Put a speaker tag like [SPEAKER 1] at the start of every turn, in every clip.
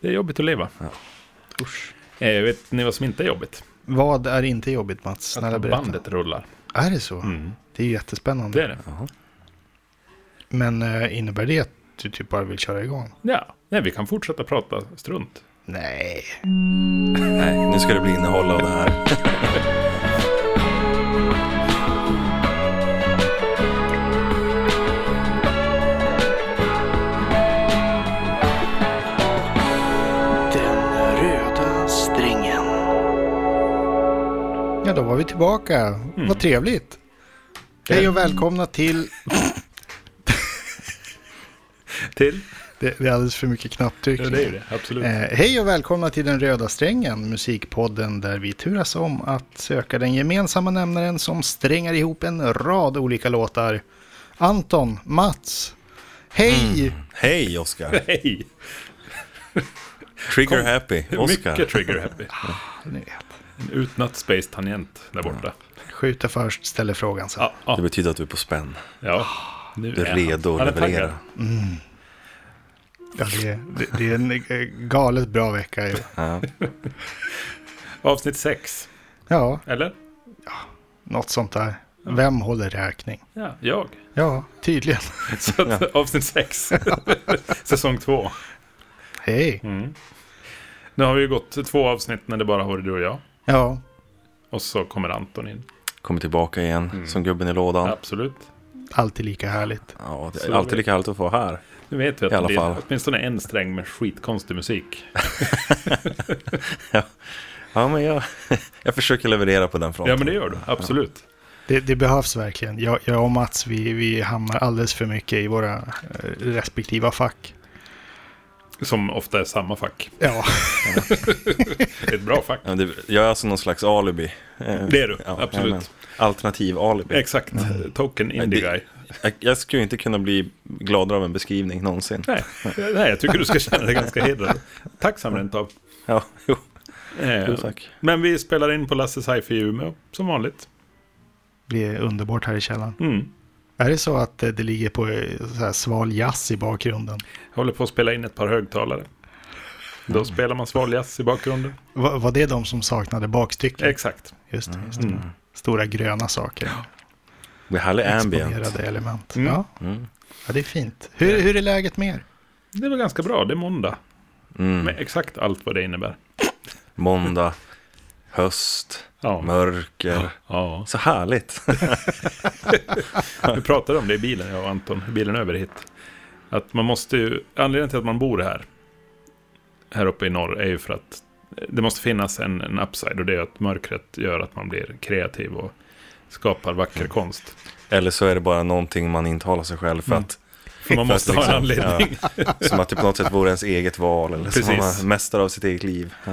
[SPEAKER 1] Det är jobbigt att leva.
[SPEAKER 2] Usch.
[SPEAKER 1] Eh, vet ni vad som inte är jobbigt?
[SPEAKER 2] Vad är inte jobbigt Mats? Snälla
[SPEAKER 1] att
[SPEAKER 2] berätta.
[SPEAKER 1] bandet rullar.
[SPEAKER 2] Är det så?
[SPEAKER 1] Mm.
[SPEAKER 2] Det är ju jättespännande.
[SPEAKER 1] Det är det.
[SPEAKER 2] Men eh, innebär det att du typ bara vill köra igång?
[SPEAKER 1] Ja. Nej, vi kan fortsätta prata strunt.
[SPEAKER 2] Nej.
[SPEAKER 3] Nej, nu ska det bli innehåll av det här.
[SPEAKER 4] Den röda strängen.
[SPEAKER 2] Ja, då var vi tillbaka.
[SPEAKER 1] Mm.
[SPEAKER 2] Vad trevligt. Hej och välkomna till...
[SPEAKER 1] Till?
[SPEAKER 2] Det, det är alldeles för mycket knapptryck.
[SPEAKER 1] Ja, det är det. Absolut.
[SPEAKER 2] Eh, hej och välkomna till Den röda strängen, musikpodden där vi turas om att söka den gemensamma nämnaren som strängar ihop en rad olika låtar. Anton, Mats, hej!
[SPEAKER 1] Mm.
[SPEAKER 3] Hej Oskar!
[SPEAKER 1] Hej!
[SPEAKER 3] Trigger happy,
[SPEAKER 1] Mycket
[SPEAKER 3] Oskar.
[SPEAKER 1] trigger happy.
[SPEAKER 2] Ni vet.
[SPEAKER 1] En utnött space-tangent där borta.
[SPEAKER 2] Skjuter först, ställer frågan sen.
[SPEAKER 1] Ja, ja,
[SPEAKER 3] Det betyder att du är på spänn.
[SPEAKER 1] ja. Nu
[SPEAKER 3] Du är redo
[SPEAKER 1] han.
[SPEAKER 3] att
[SPEAKER 1] Han är
[SPEAKER 3] leverera.
[SPEAKER 1] taggad.
[SPEAKER 2] Ja, det, det, det är en eh, galet bra vecka. ju.
[SPEAKER 3] Ja.
[SPEAKER 1] Avsnitt 6,
[SPEAKER 2] Ja,
[SPEAKER 1] eller?
[SPEAKER 2] något sånt där. Vem håller räkning?
[SPEAKER 1] Ja, jag.
[SPEAKER 2] Ja, tydligen.
[SPEAKER 1] Så att, Avsnitt 6, säsong 2.
[SPEAKER 2] Hej!
[SPEAKER 1] Mm. Nu har vi ju gått två avsnitt när det bara har varit du och jag.
[SPEAKER 2] Ja,
[SPEAKER 1] Och så kommer Anton in.
[SPEAKER 3] Kommer tillbaka igen
[SPEAKER 1] Mm.
[SPEAKER 3] som gubben i lådan.
[SPEAKER 1] Absolut.
[SPEAKER 2] alltid lika härligt.
[SPEAKER 3] Ja, det är
[SPEAKER 1] Så
[SPEAKER 3] alltid
[SPEAKER 1] vi-
[SPEAKER 3] lika härligt att få här.
[SPEAKER 1] Nu vet vi att
[SPEAKER 3] I alla
[SPEAKER 1] det
[SPEAKER 3] fall.
[SPEAKER 1] är åtminstone en sträng med skitkonstig musik.
[SPEAKER 3] Ja, men jag, jag försöker leverera på den fronten.
[SPEAKER 1] Ja, men det gör du. Absolut.
[SPEAKER 2] Det, det behövs verkligen. Jag, jag och Mats, vi, vi hamnar alldeles för mycket i våra eh, respektiva fack.
[SPEAKER 1] Som ofta är samma fack.
[SPEAKER 2] Ja,
[SPEAKER 1] Ett bra fack.
[SPEAKER 3] Ja, det- Jag är alltså någon slags alibi. Eh,
[SPEAKER 1] Det är du,
[SPEAKER 3] ja,
[SPEAKER 1] absolut.
[SPEAKER 3] jajamän. Alternativ alibi.
[SPEAKER 1] Exakt. Token indie
[SPEAKER 3] det-
[SPEAKER 1] guy.
[SPEAKER 3] Jag, jag skulle inte kunna bli gladare av en beskrivning någonsin.
[SPEAKER 1] Nej. Nej, jag tycker du ska känna dig ganska hedrad. Tacksam rent av.
[SPEAKER 3] Ja, jo,
[SPEAKER 1] Eh,
[SPEAKER 3] jo, tack.
[SPEAKER 1] Men vi spelar in på Lasses Hi-Fi i Umeå, som vanligt.
[SPEAKER 2] det är underbart här i källaren.
[SPEAKER 1] Mm.
[SPEAKER 2] Är det så att eh, det ligger på eh, så här sval jazz i bakgrunden?
[SPEAKER 1] Jag håller på att spela in ett par högtalare. Då spelar man svaljazz i bakgrunden.
[SPEAKER 2] Va- var det de som saknade bakstycken?
[SPEAKER 1] Exakt.
[SPEAKER 2] Just det, just det. Stora gröna saker.
[SPEAKER 3] Det är härlig ambient.
[SPEAKER 2] Exponerade element.
[SPEAKER 1] Mm.
[SPEAKER 2] Ja.
[SPEAKER 3] Mm.
[SPEAKER 2] ja, det är fint. Hur, hur är läget med er?
[SPEAKER 1] Det är väl ganska bra, det är måndag.
[SPEAKER 3] Mm.
[SPEAKER 1] Med exakt allt vad det innebär.
[SPEAKER 3] Måndag, höst,
[SPEAKER 1] Ja.
[SPEAKER 3] mörker.
[SPEAKER 1] Ja.
[SPEAKER 3] Så härligt.
[SPEAKER 1] Vi pratade om det i bilen, jag och Anton, i bilen över hit. Att man måste ju, anledningen till att man bor här, här uppe i norr, är ju för att det måste finnas en, en upside och det är att mörkret gör att man blir kreativ och skapar vacker konst.
[SPEAKER 3] Eller så är det bara någonting man intalar sig själv för att liksom,
[SPEAKER 1] För Mm. man måste ha en anledning.
[SPEAKER 3] Som att det på något sätt vore ens eget val eller som
[SPEAKER 1] Precis.
[SPEAKER 3] man är mästare av sitt eget liv. Ja.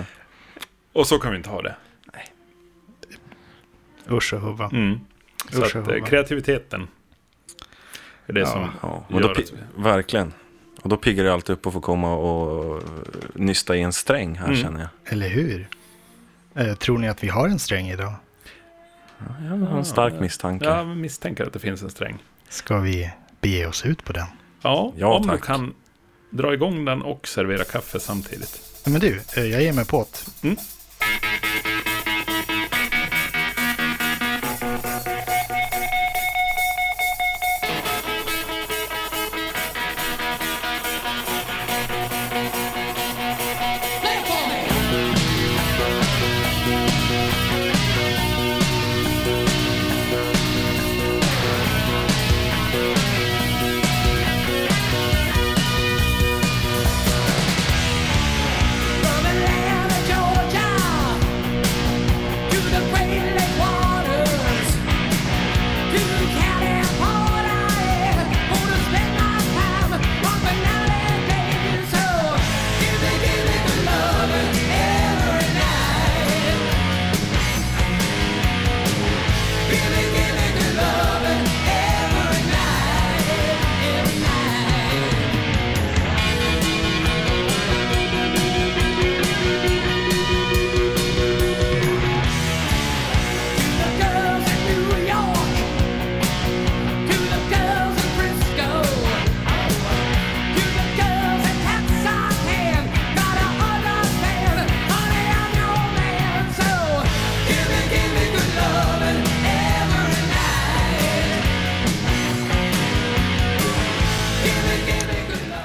[SPEAKER 1] Och så kan vi inte ha det.
[SPEAKER 2] Usch och huva.
[SPEAKER 1] Mm. Så
[SPEAKER 2] Usch,
[SPEAKER 1] att
[SPEAKER 2] vad
[SPEAKER 1] eh,
[SPEAKER 2] bra. kreativiteten är det som
[SPEAKER 3] Ja, och då
[SPEAKER 1] gör
[SPEAKER 3] pi-
[SPEAKER 1] att vi...
[SPEAKER 3] verkligen. Och då piggar det alltid upp att få komma och nysta i en sträng här
[SPEAKER 1] Mm.
[SPEAKER 3] känner jag.
[SPEAKER 2] Eller hur? Eh, tror ni att vi har en sträng idag?
[SPEAKER 3] Jag har en stark misstanke.
[SPEAKER 1] Jag misstänker att det finns en sträng.
[SPEAKER 2] Ska vi bege oss ut på den?
[SPEAKER 1] Ja,
[SPEAKER 3] Ja,
[SPEAKER 1] om du
[SPEAKER 3] tack.
[SPEAKER 1] kan dra igång den och servera kaffe samtidigt.
[SPEAKER 2] Ja, Men du, eh, jag ger mig på det.
[SPEAKER 1] Mm.
[SPEAKER 5] From Atlanta, Georgia,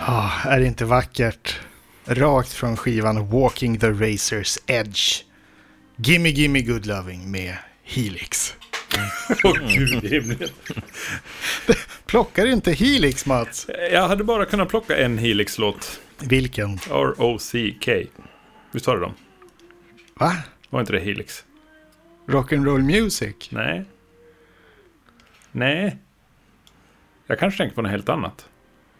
[SPEAKER 2] Ah, är det inte vackert? Rakt från skivan Walking the Razor's Edge. Gimme Gimme Good Loving med Helix.
[SPEAKER 1] Åh gud i himlen.
[SPEAKER 2] Plockar inte Helix Mats?
[SPEAKER 1] Jag hade bara kunnat plocka en Helix-låt.
[SPEAKER 2] Vilken?
[SPEAKER 1] R-O-C-K. Visst har du dem?
[SPEAKER 2] Va?
[SPEAKER 1] Var inte det Helix?
[SPEAKER 2] Rock'n'roll music?
[SPEAKER 1] Nej. Nej. Jag kanske tänker på något helt annat.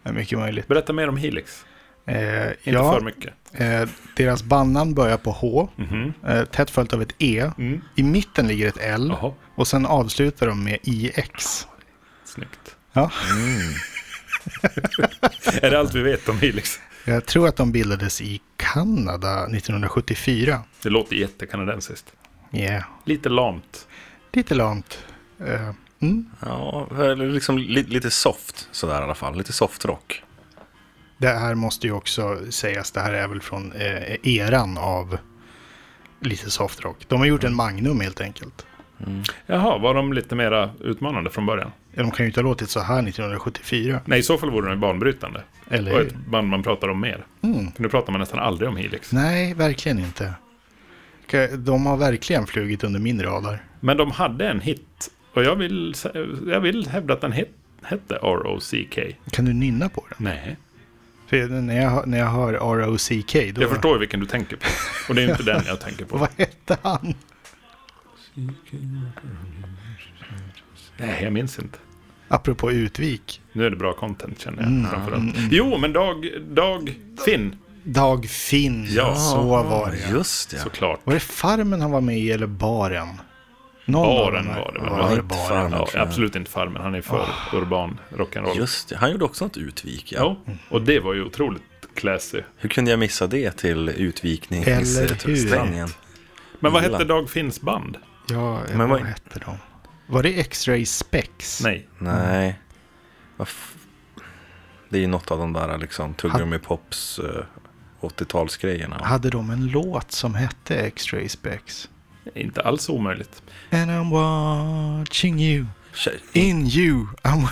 [SPEAKER 2] Det är mycket möjligt.
[SPEAKER 1] Berätta mer om Helix.
[SPEAKER 2] Eh,
[SPEAKER 1] Inte
[SPEAKER 2] ja,
[SPEAKER 1] för mycket.
[SPEAKER 2] eh, deras bandnamn börjar på H,
[SPEAKER 1] Mhm.
[SPEAKER 2] eh, tätt följt av ett E.
[SPEAKER 1] Mm.
[SPEAKER 2] I mitten ligger ett L
[SPEAKER 1] Jaha,
[SPEAKER 2] och sen avslutar de med IX.
[SPEAKER 1] snyggt.
[SPEAKER 2] Ja.
[SPEAKER 1] Mm. Är det allt vi vet om Helix?
[SPEAKER 2] Jag tror att de bildades i Kanada 1974.
[SPEAKER 1] Det låter jättekanadensiskt.
[SPEAKER 2] Yeah.
[SPEAKER 1] Lite lamt.
[SPEAKER 2] Lite lamt. Eh, mm.
[SPEAKER 3] Ja, eller liksom li, lite soft sådär i alla fall. Lite soft rock.
[SPEAKER 2] Det här måste ju också sägas, det här är väl från eh, eran av lite softrock. De har gjort en Magnum helt enkelt.
[SPEAKER 1] Jaha, var de lite mera utmanande från början?
[SPEAKER 2] De kan ju inte ha låtit så här 1974.
[SPEAKER 1] Nej, i så fall vore de ju banbrytande.
[SPEAKER 2] Eller
[SPEAKER 1] Och
[SPEAKER 2] hur?
[SPEAKER 1] ett band man pratar om mer.
[SPEAKER 2] Mm.
[SPEAKER 1] För nu pratar man nästan aldrig om Helix.
[SPEAKER 2] Nej, verkligen inte. Ka- De har verkligen flugit under min radar.
[SPEAKER 1] Men de hade en hit. Och jag vill, sä- jag vill hävda att den het, hette ROCK.
[SPEAKER 2] Kan du nynna på den?
[SPEAKER 1] Nej.
[SPEAKER 2] För när jag, när jag hör R.O.C.K. då...
[SPEAKER 1] Jag förstår ju vilken du tänker på. Och det är inte den jag tänker på.
[SPEAKER 2] Vad hette han?
[SPEAKER 1] Nej, jag minns inte.
[SPEAKER 2] Apropå Utvik.
[SPEAKER 1] Nu är det bra content känner jag. framförallt. Jo, men Dag, Dag Finn
[SPEAKER 2] Dag Finn.
[SPEAKER 1] Ja.
[SPEAKER 2] Så var det.
[SPEAKER 3] Just ja.
[SPEAKER 1] såklart.
[SPEAKER 2] Var det Farmen han var med i eller Baren? Någon av
[SPEAKER 1] Baren
[SPEAKER 2] de här-
[SPEAKER 1] var det väl?
[SPEAKER 2] Ja, var det
[SPEAKER 3] inte
[SPEAKER 2] Baren.
[SPEAKER 3] Farmen.
[SPEAKER 1] Ja,
[SPEAKER 3] tror jag.
[SPEAKER 1] absolut inte Farmen. Han är för urban rock'n'roll.
[SPEAKER 3] Just det. Han gjorde också något utvik. Ja.
[SPEAKER 1] Ja, och det var ju otroligt classy.
[SPEAKER 3] Hur kunde jag missa det till
[SPEAKER 2] Eller hur?
[SPEAKER 3] utvikningssträngen?
[SPEAKER 1] Men vad
[SPEAKER 3] Gillar.
[SPEAKER 1] hette Dag Finns band?
[SPEAKER 2] Ja, eh,
[SPEAKER 3] Men
[SPEAKER 2] vad
[SPEAKER 3] vad-
[SPEAKER 2] hette de? Var det X-Ray Specs?
[SPEAKER 1] Nej.
[SPEAKER 3] Nej. Vad f- Det är ju något av de där liksom tuggummi pops eh, 80-talsgrejerna.
[SPEAKER 2] Hade de en låt som hette X-Ray Specs?
[SPEAKER 1] Inte alls omöjligt.
[SPEAKER 2] And I'm watching you,
[SPEAKER 3] Tje-
[SPEAKER 2] in you. I'm...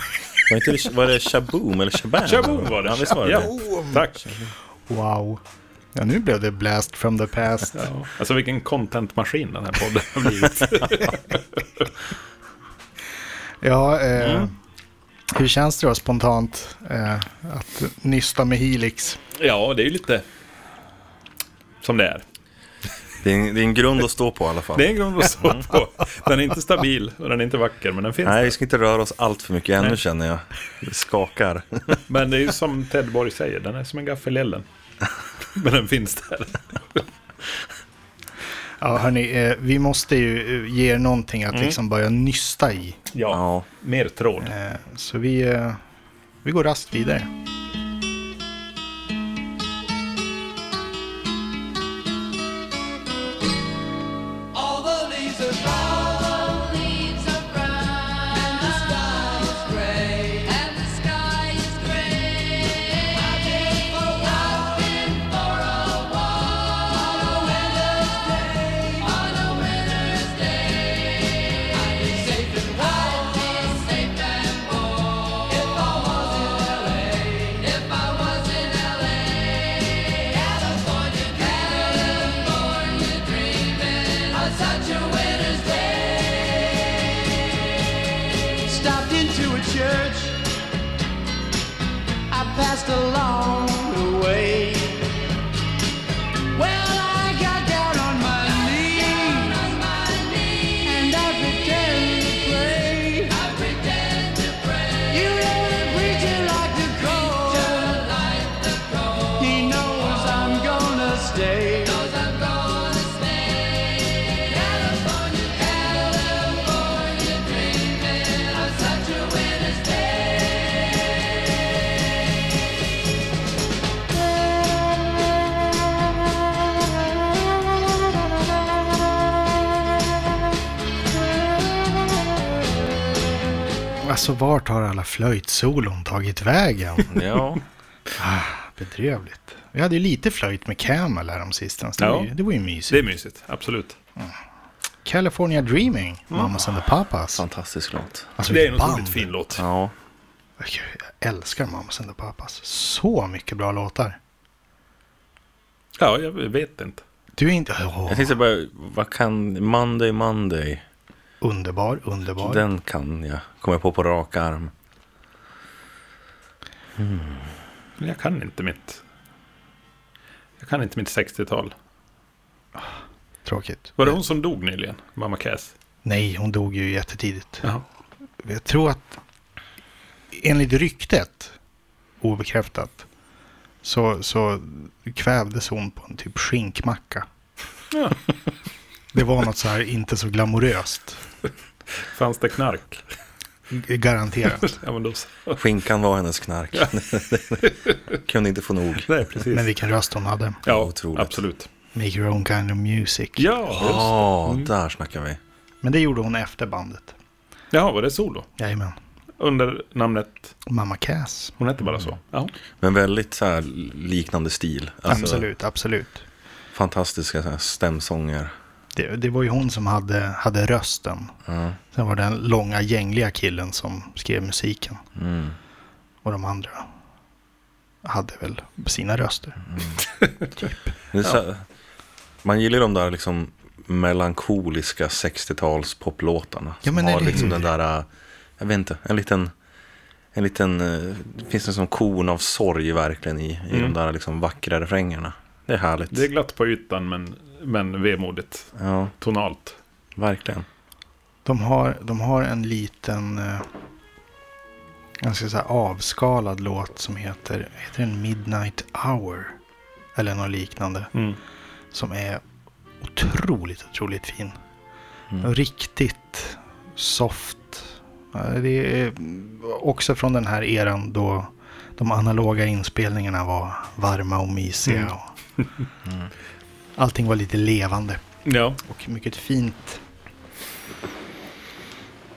[SPEAKER 3] Var, inte det, var det shaboom eller shabam?
[SPEAKER 1] Shaboom var det.
[SPEAKER 3] Ja, visst var det
[SPEAKER 1] Ja.
[SPEAKER 3] det.
[SPEAKER 1] Tack.
[SPEAKER 2] Wow. Ja, nu blev det blast from the past.
[SPEAKER 1] Ja. Alltså vilken contentmaskin den här podden har blivit.
[SPEAKER 2] Ja, eh,
[SPEAKER 1] Mm.
[SPEAKER 2] hur känns det då spontant eh, att nysta med Helix?
[SPEAKER 1] ja, det är ju lite som det är.
[SPEAKER 3] Det är, en, det är en grund att stå på i alla fall.
[SPEAKER 1] Det är en grund att stå på. Den är inte stabil och den är inte vacker, men den finns.
[SPEAKER 3] Nej, vi ska inte röra oss allt för mycket ännu känner jag. Det skakar.
[SPEAKER 1] Men det är ju som Ted Borg säger, den är som en gaffel i elden. Men den finns där.
[SPEAKER 2] Ja, hörni, eh, vi måste ju eh, ge er någonting att
[SPEAKER 1] Mm.
[SPEAKER 2] liksom börja nysta i.
[SPEAKER 1] Ja,
[SPEAKER 3] Ja.
[SPEAKER 1] mer tråd.
[SPEAKER 2] Eh, så vi, eh, vi går rast vidare.
[SPEAKER 5] All the leaves are brown. And the sky is gray. I've been for a walk. On a winter's day. I'd be safe and warm. If I was in LA. California dreaming on such a winter's day. Stopped into a church. I passed along the way. Well, I got down on my knees and I pretended to pray. I pretended to pray. You know the preacher liked to call. He knows I'm gonna stay.
[SPEAKER 2] Alltså vart har alla flöjtsolon tagit vägen?
[SPEAKER 3] Ja.
[SPEAKER 2] Bedrövligt. Vi hade ju lite flöjt med Camel här om sistens. Det,
[SPEAKER 1] Ja.
[SPEAKER 2] var ju- det var ju mysigt.
[SPEAKER 1] Det är mysigt, absolut.
[SPEAKER 2] California Dreaming, Mamas and the Papas.
[SPEAKER 3] Fantastisk låt.
[SPEAKER 2] Alltså,
[SPEAKER 1] Mm. Det är en
[SPEAKER 2] vilket
[SPEAKER 1] otroligt
[SPEAKER 2] band.
[SPEAKER 1] fin låt.
[SPEAKER 3] Ja.
[SPEAKER 2] Jag älskar Mamas and the Papas. Så mycket bra låtar.
[SPEAKER 1] Ja, jag vet inte.
[SPEAKER 2] Du är inte... Åh,
[SPEAKER 3] Jag tänkte bara, vad kan Monday Monday?
[SPEAKER 2] underbar, underbar.
[SPEAKER 3] Den kan jag komma på på rak arm.
[SPEAKER 1] Men jag kan inte mitt... Jag kan inte mitt 60-tal.
[SPEAKER 2] Tråkigt.
[SPEAKER 1] Var det hon som dog nyligen? Mamma Cass?
[SPEAKER 2] Nej, hon dog ju jättetidigt.
[SPEAKER 1] Jaha.
[SPEAKER 2] Jag tror att enligt ryktet, obekräftat, så, så kvävdes hon på en typ skinkmacka.
[SPEAKER 1] Ja.
[SPEAKER 2] Det var något så här inte så glamoröst.
[SPEAKER 1] Fanns det knark?
[SPEAKER 2] Garanterat.
[SPEAKER 1] Ja, men då så.
[SPEAKER 3] Skinkan var hennes knark. Kunde inte få nog.
[SPEAKER 1] Nej, precis.
[SPEAKER 2] Men vilken röst hon hade.
[SPEAKER 1] Ja,
[SPEAKER 3] Otroligt.
[SPEAKER 1] absolut.
[SPEAKER 2] Make your own kind of music.
[SPEAKER 1] Ja, just.
[SPEAKER 3] Ja,
[SPEAKER 2] Mm.
[SPEAKER 3] där snackar vi.
[SPEAKER 2] Men det gjorde hon efter bandet.
[SPEAKER 1] Jaha, var det solo?
[SPEAKER 2] Jajamän.
[SPEAKER 1] Under namnet...
[SPEAKER 2] Mamma Cass.
[SPEAKER 1] Hon hette bara så? Ja.
[SPEAKER 3] Men väldigt så här liknande stil. Alltså,
[SPEAKER 2] Absolut, absolut.
[SPEAKER 3] Fantastiska så här stämsånger.
[SPEAKER 2] Det, det var ju hon som hade, hade rösten. Sen var det den långa gängliga killen som skrev musiken. Och de andra hade väl sina röster.
[SPEAKER 3] Det är så här, man gillar ju de där liksom melankoliska 60-tals poplåtarna.
[SPEAKER 2] Ja, men
[SPEAKER 3] som har
[SPEAKER 2] eller hur?
[SPEAKER 3] liksom den där, äh, jag vet inte, en liten, en liten, äh, det finns en sån korn av sorg verkligen i, i
[SPEAKER 2] Mm.
[SPEAKER 3] de där liksom vackra refrängerna. Det är härligt.
[SPEAKER 1] Det är glatt på ytan, men, men vemodigt.
[SPEAKER 3] Ja,
[SPEAKER 1] Tonalt.
[SPEAKER 3] verkligen.
[SPEAKER 2] De har, de har en liten, eh, jag ska säga avskalad låt som heter, heter den Midnight Hour? Eller något liknande.
[SPEAKER 1] Mm.
[SPEAKER 2] Som är otroligt, otroligt fin. Riktigt soft. Ja, Det är också från den här eran då de analoga inspelningarna var varma och mysiga.
[SPEAKER 1] Mm.
[SPEAKER 2] Och allting var lite levande
[SPEAKER 1] Ja.
[SPEAKER 2] och mycket fint.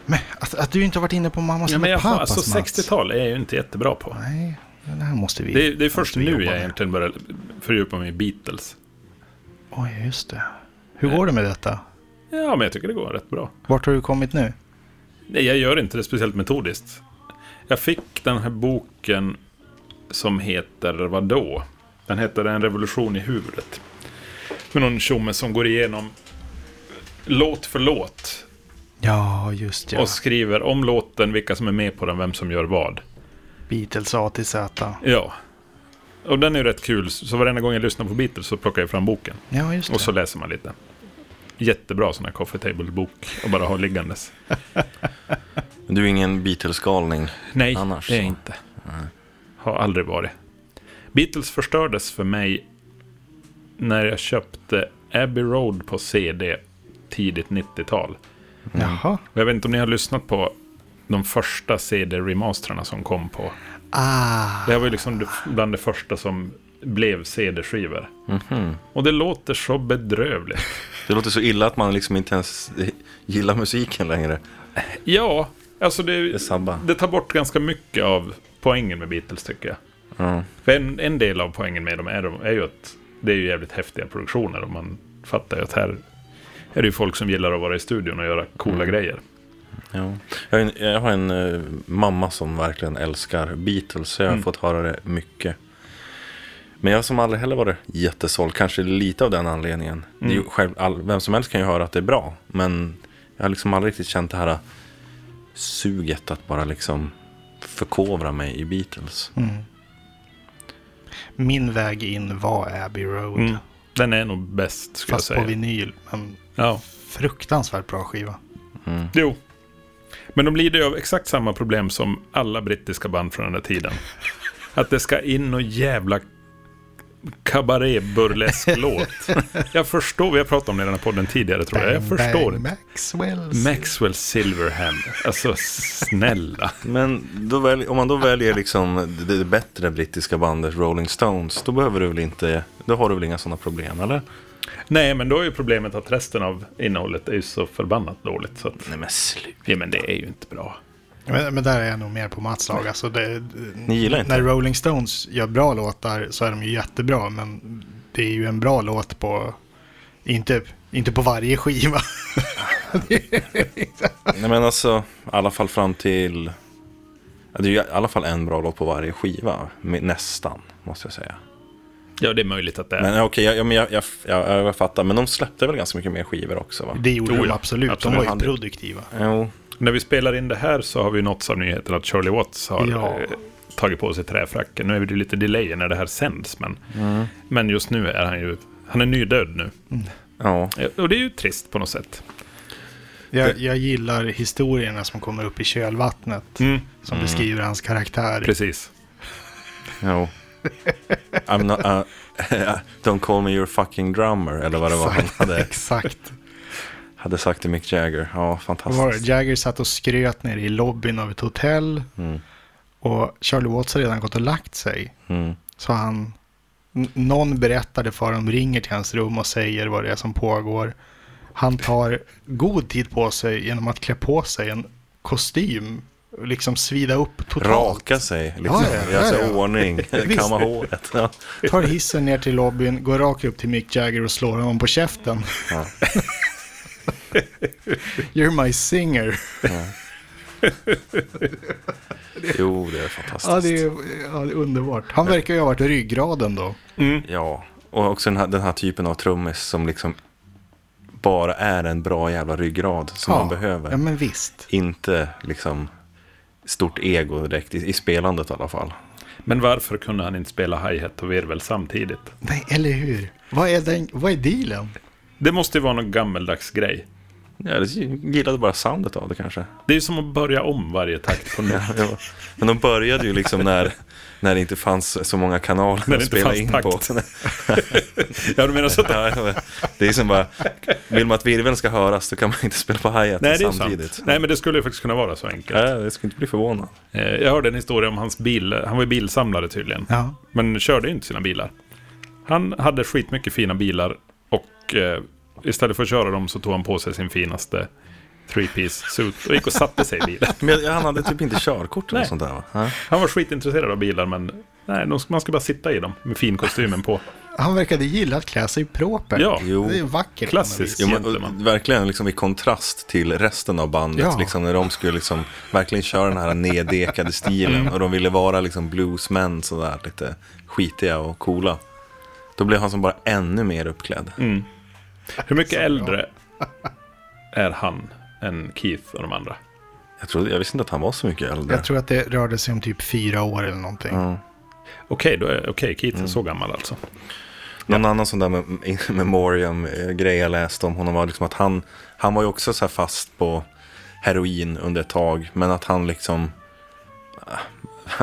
[SPEAKER 2] Men att, att du inte har varit inne på mammas
[SPEAKER 1] ja men jag,
[SPEAKER 2] pappas
[SPEAKER 1] alltså,
[SPEAKER 2] Mats.
[SPEAKER 1] 60-tal är jag ju inte jättebra på. Alltså,
[SPEAKER 2] Nej, det här måste vi...
[SPEAKER 1] Det är, det är först
[SPEAKER 2] måste vi
[SPEAKER 1] nu
[SPEAKER 2] jobba
[SPEAKER 1] jag
[SPEAKER 2] med.
[SPEAKER 1] egentligen börjar fördjupa mig i Beatles.
[SPEAKER 2] Oj, just det. Hur går det med detta?
[SPEAKER 1] Ja, men jag tycker det går rätt bra.
[SPEAKER 2] Vart har du kommit nu?
[SPEAKER 1] Nej, jag gör inte det speciellt metodiskt. Jag fick den här boken som heter vadå? Den heter En revolution i huvudet. Med någon tjomme som går igenom låt för låt
[SPEAKER 2] Ja, just ja.
[SPEAKER 1] och skriver om låten, vilka som är med på den, vem som gör vad.
[SPEAKER 2] Beatles A till Z.
[SPEAKER 1] Ja. Och den är ju rätt kul, så varenda gång jag lyssnar på Beatles så plockar jag fram boken.
[SPEAKER 2] Ja, just det.
[SPEAKER 1] Och så läser man lite. Jättebra sån här coffee table-bok att bara ha liggandes.
[SPEAKER 3] Men Du är ingen Beatles-galning.
[SPEAKER 1] Nej,
[SPEAKER 3] Annars
[SPEAKER 1] det är jag
[SPEAKER 3] så.
[SPEAKER 1] inte. Har aldrig varit. Beatles förstördes för mig när jag köpte Abbey Road på CD tidigt 90-tal.
[SPEAKER 2] Jaha.
[SPEAKER 1] Och Jag vet inte om ni har lyssnat på de första CD-remasterna som kom på.
[SPEAKER 2] Ah,
[SPEAKER 1] Det här var ju liksom det- bland det första som blev CD-skivor. Och det låter så bedrövligt.
[SPEAKER 3] Det låter så illa att man liksom inte ens gillar musiken längre.
[SPEAKER 1] Ja, alltså
[SPEAKER 3] Det
[SPEAKER 1] det,
[SPEAKER 3] sabbar.
[SPEAKER 1] det tar bort ganska mycket av poängen med Beatles tycker jag.
[SPEAKER 3] Ja.
[SPEAKER 1] För en, en del av poängen med dem är, de- är ju att det är ju jävligt häftiga produktioner och man fattar ju att här är det ju folk som gillar att vara i studion och göra coola grejer.
[SPEAKER 3] Ja. Jag, har en, jag har en eh, mamma som verkligen älskar Beatles, så jag har fått höra det mycket. Men jag som aldrig heller varit jättesåld, kanske lite av den anledningen. Det är ju själv, all, vem som helst kan ju höra att det är bra, men jag har liksom aldrig riktigt känt det här eh, suget att bara liksom förkovra mig i Beatles.
[SPEAKER 2] min väg in var Abbey Road.
[SPEAKER 1] Mm. Den är nog bäst skulle
[SPEAKER 2] Fast
[SPEAKER 1] jag
[SPEAKER 2] på
[SPEAKER 1] säga.
[SPEAKER 2] vinyl. Men
[SPEAKER 1] Ja.
[SPEAKER 2] fruktansvärt bra skiva.
[SPEAKER 1] Jo. Men de lider ju av exakt samma problem som alla brittiska band från den där tiden. Att det ska in och jävla kabaré-burlesk-låt. Jag förstår, vi har pratat om det i den här podden tidigare tror jag. Jag
[SPEAKER 2] Bang,
[SPEAKER 1] förstår
[SPEAKER 2] bang,
[SPEAKER 1] inte.
[SPEAKER 2] Maxwells.
[SPEAKER 1] Maxwell Silverhand. Alltså snälla.
[SPEAKER 3] Men då väl, om man då väljer liksom det, det bättre brittiska bandet Rolling Stones, då behöver du väl inte, då har du väl inga sådana problem, eller?
[SPEAKER 1] Nej, men då är ju problemet att resten av innehållet är ju så förbannat dåligt. Så att,
[SPEAKER 3] Nej men slut.
[SPEAKER 1] ja, men det är ju inte bra.
[SPEAKER 2] Men, men där är jag nog mer på Mats lag. Alltså det, Ni
[SPEAKER 3] gillar inte?
[SPEAKER 2] När Rolling Stones gör bra låtar så är de ju jättebra. Men det är ju en bra låt på... Inte, inte på varje skiva.
[SPEAKER 3] Nej men alltså, i alla fall fram till Ja, Det är ju i alla fall en bra låt på varje skiva. med- Nästan, måste jag säga.
[SPEAKER 1] Ja, det är möjligt att det är.
[SPEAKER 3] Men ja, okej, jag, ja, men jag, jag, jag, jag fattar. Men de släppte väl ganska mycket mer skivor också? va?
[SPEAKER 2] Det gjorde
[SPEAKER 1] Jo,
[SPEAKER 2] de
[SPEAKER 1] ja.
[SPEAKER 2] absolut.
[SPEAKER 1] Absolut.
[SPEAKER 2] De var ju produktiva.
[SPEAKER 3] Jo.
[SPEAKER 1] När vi spelar in det här så har vi nåtts av nyheten att Charlie Watts har
[SPEAKER 2] Ja.
[SPEAKER 1] eh, tagit på sig träfracken. Nu är det ju lite delay när det här sänds, men, men just nu är han ju han är nydöd nu.
[SPEAKER 3] Ja.
[SPEAKER 1] Eh, Och det är ju trist på något sätt.
[SPEAKER 2] Jag, jag gillar historierna som kommer upp i kölvattnet.
[SPEAKER 1] Mm.
[SPEAKER 2] Som beskriver hans karaktär.
[SPEAKER 1] Precis.
[SPEAKER 3] Jo. I'm not, uh, don't call me your fucking drummer, eller vad det var han hade,
[SPEAKER 2] Exakt.
[SPEAKER 3] hade sagt till Mick Jagger. Ja,
[SPEAKER 2] Vad var det?
[SPEAKER 3] fantastiskt.
[SPEAKER 2] Jagger satt och skröt nere i lobbyn av ett hotell. Och Charlie Watts har redan gått och lagt sig.
[SPEAKER 3] Mm.
[SPEAKER 2] Så han... n- Någon berättade för honom, ringer till hans rum och säger vad det är som pågår. Han tar god tid på sig genom att klä på sig en kostym. och Liksom svida upp totalt.
[SPEAKER 3] Raka sig, liksom.
[SPEAKER 2] Ja, ja, ja,
[SPEAKER 3] göra sig i
[SPEAKER 2] ja.
[SPEAKER 3] ordning,
[SPEAKER 2] Visst.
[SPEAKER 3] kamma håret. Ja.
[SPEAKER 2] Tar hissen ner till lobbyn, går rakt upp till Mick Jagger och slår honom på käften.
[SPEAKER 3] Ja.
[SPEAKER 2] You're my singer.
[SPEAKER 3] Jo, det är fantastiskt.
[SPEAKER 2] Ja det, är, ja, det är underbart. Han verkar ju ha varit ryggraden då.
[SPEAKER 3] Ja, och också den här, den här typen av trummis som liksom bara är en bra jävla ryggrad som man behöver.
[SPEAKER 2] Ja, men visst.
[SPEAKER 3] Inte liksom stort ego direkt, i, i spelandet i alla fall.
[SPEAKER 1] Men varför kunde han inte spela hi-hat och virvel samtidigt?
[SPEAKER 2] Nej, eller hur? Vad är, den, vad är dealen?
[SPEAKER 1] Det måste ju vara någon gammeldags grej.
[SPEAKER 3] Ja, jag gillade bara soundet av det kanske.
[SPEAKER 1] Det är ju som att börja om varje takt på nytt.
[SPEAKER 3] Ja, men de började ju liksom när, när det inte fanns så många kanaler
[SPEAKER 1] När det
[SPEAKER 3] att
[SPEAKER 1] inte
[SPEAKER 3] spela
[SPEAKER 1] fanns
[SPEAKER 3] in
[SPEAKER 1] takt.
[SPEAKER 3] på.
[SPEAKER 1] ja, du menar så att
[SPEAKER 3] Ja, ja, men det är som bara, vill man att virveln ska höras då kan man inte spela på
[SPEAKER 1] Nej, det
[SPEAKER 3] hi-haten
[SPEAKER 1] är ju
[SPEAKER 3] samtidigt.
[SPEAKER 1] sant. Nej, men det skulle ju faktiskt kunna vara så enkelt.
[SPEAKER 3] Ja, jag skulle inte bli förvånad.
[SPEAKER 1] Eh, Jag hörde en historia om hans bil. Han var ju bilsamlare tydligen.
[SPEAKER 2] Ja.
[SPEAKER 1] Men körde ju inte sina bilar. Han hade skitmycket fina bilar och eh, istället för att köra dem så tog han på sig sin finaste three-piece suit och gick och satte sig i bilen.
[SPEAKER 3] Men han hade typ inte körkort eller
[SPEAKER 1] Nej.
[SPEAKER 3] sånt där va? Ja.
[SPEAKER 1] Han var skitintresserad av bilar men nej, de ska, man ska bara sitta i dem med finkostymen på.
[SPEAKER 2] Han verkade gilla att klä sig i proper.
[SPEAKER 1] Ja,
[SPEAKER 3] Jo.
[SPEAKER 2] Det är vackert.
[SPEAKER 1] Klassiskt.
[SPEAKER 2] på något vis.
[SPEAKER 3] Jo, men,
[SPEAKER 1] Gentleman.
[SPEAKER 3] och, verkligen liksom i kontrast till resten av bandet.
[SPEAKER 2] Ja.
[SPEAKER 3] Liksom, när de skulle liksom, verkligen köra den här neddekade stilen. Och de ville vara liksom bluesmän sådär lite skitiga och coola. Då blev han som bara ännu mer uppklädd.
[SPEAKER 1] hur mycket äldre är han än Keith och de andra?
[SPEAKER 3] Jag, trodde, jag visste inte att han var så mycket äldre.
[SPEAKER 2] Jag tror att det rörde sig om typ fyra år eller någonting.
[SPEAKER 1] Okej, då är- okej, Keith är så gammal alltså.
[SPEAKER 3] Någon annan sån där mem- memoriam-grej jag läste om honom var liksom att han, han var ju också så här fast på heroin under ett tag. Men att han liksom, ah,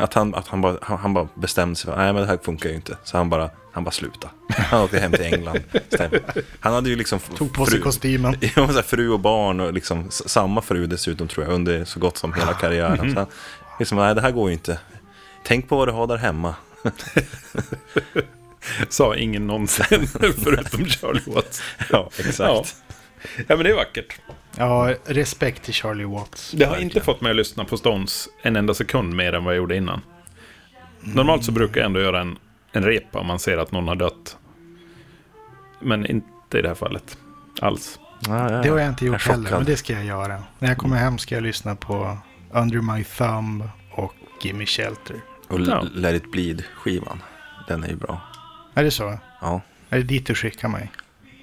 [SPEAKER 3] att han, att han, bara, han, han bara bestämde sig för nej men det här funkar ju inte. Så han bara, han bara slutade. Han åkte hem till England. Stämmer. Han hade ju liksom
[SPEAKER 2] Tog på sig
[SPEAKER 3] fru-
[SPEAKER 2] kostymen.
[SPEAKER 3] Ja, men så här, fru och barn och liksom s- samma fru dessutom tror jag under så gott som
[SPEAKER 2] Ah.
[SPEAKER 3] hela karriären.
[SPEAKER 2] Mhm.
[SPEAKER 3] Så han, liksom, nej det här går ju inte. Tänk på vad du har där hemma.
[SPEAKER 1] Sa ingen någonsin förutom Charlie Watts.
[SPEAKER 3] Ja, exakt.
[SPEAKER 1] Ja. ja, men det är vackert.
[SPEAKER 2] Ja, respekt till Charlie Watts.
[SPEAKER 1] Det har inte fått mig att lyssna på Stones en enda sekund mer än vad jag gjorde innan. Normalt så brukar jag ändå göra en, en repa om man ser att någon har dött. Men inte i det här fallet. Alls.
[SPEAKER 2] Det har jag inte gjort
[SPEAKER 3] är
[SPEAKER 2] heller, men
[SPEAKER 3] chockad.
[SPEAKER 2] det ska jag göra. När jag kommer hem ska jag lyssna på Under My Thumb och Gimme Shelter.
[SPEAKER 3] Och
[SPEAKER 1] Ja.
[SPEAKER 3] L- Let it bleed-skivan. Den är ju bra.
[SPEAKER 2] Är det så?
[SPEAKER 3] Ja,
[SPEAKER 2] Är det dit du skickar mig?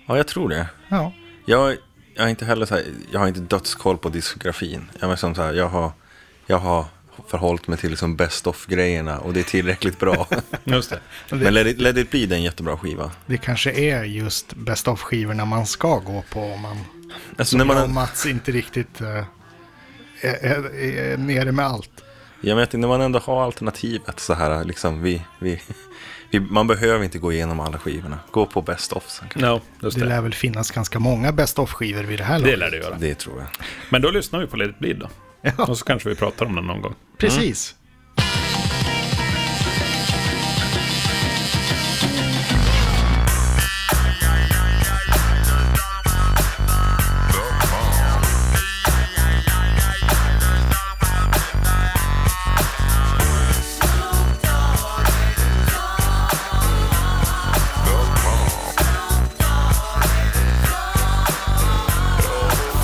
[SPEAKER 3] ja jag tror det.
[SPEAKER 2] Ja.
[SPEAKER 3] Jag, jag, är inte heller så här, jag har inte dödskoll på diskografin. Jag, är som så här, jag, har, jag har förhållit mig till liksom best of-grejerna och det är tillräckligt bra.
[SPEAKER 1] Just det.
[SPEAKER 3] Men Let it, Let it bleed är en jättebra skiva.
[SPEAKER 2] Det kanske är just best of-skivorna man ska gå på om man,
[SPEAKER 3] Alltså, när man,
[SPEAKER 2] om Mats inte riktigt eh, är, är, är nere med allt.
[SPEAKER 3] jag vet, inte, när man ändå har alternativet så här, liksom, vi, vi, vi, man behöver inte gå igenom alla skivorna. Gå på best of sen kanske.
[SPEAKER 1] No, just
[SPEAKER 2] Det lär
[SPEAKER 1] det.
[SPEAKER 2] väl finnas ganska många best of-skivor vid det här
[SPEAKER 1] Det
[SPEAKER 2] laget.
[SPEAKER 1] lär det göra.
[SPEAKER 3] Det tror jag.
[SPEAKER 1] Men då lyssnar vi på Let it bleed då.
[SPEAKER 2] Ja.
[SPEAKER 1] Och så kanske vi pratar om den någon gång.
[SPEAKER 2] Precis.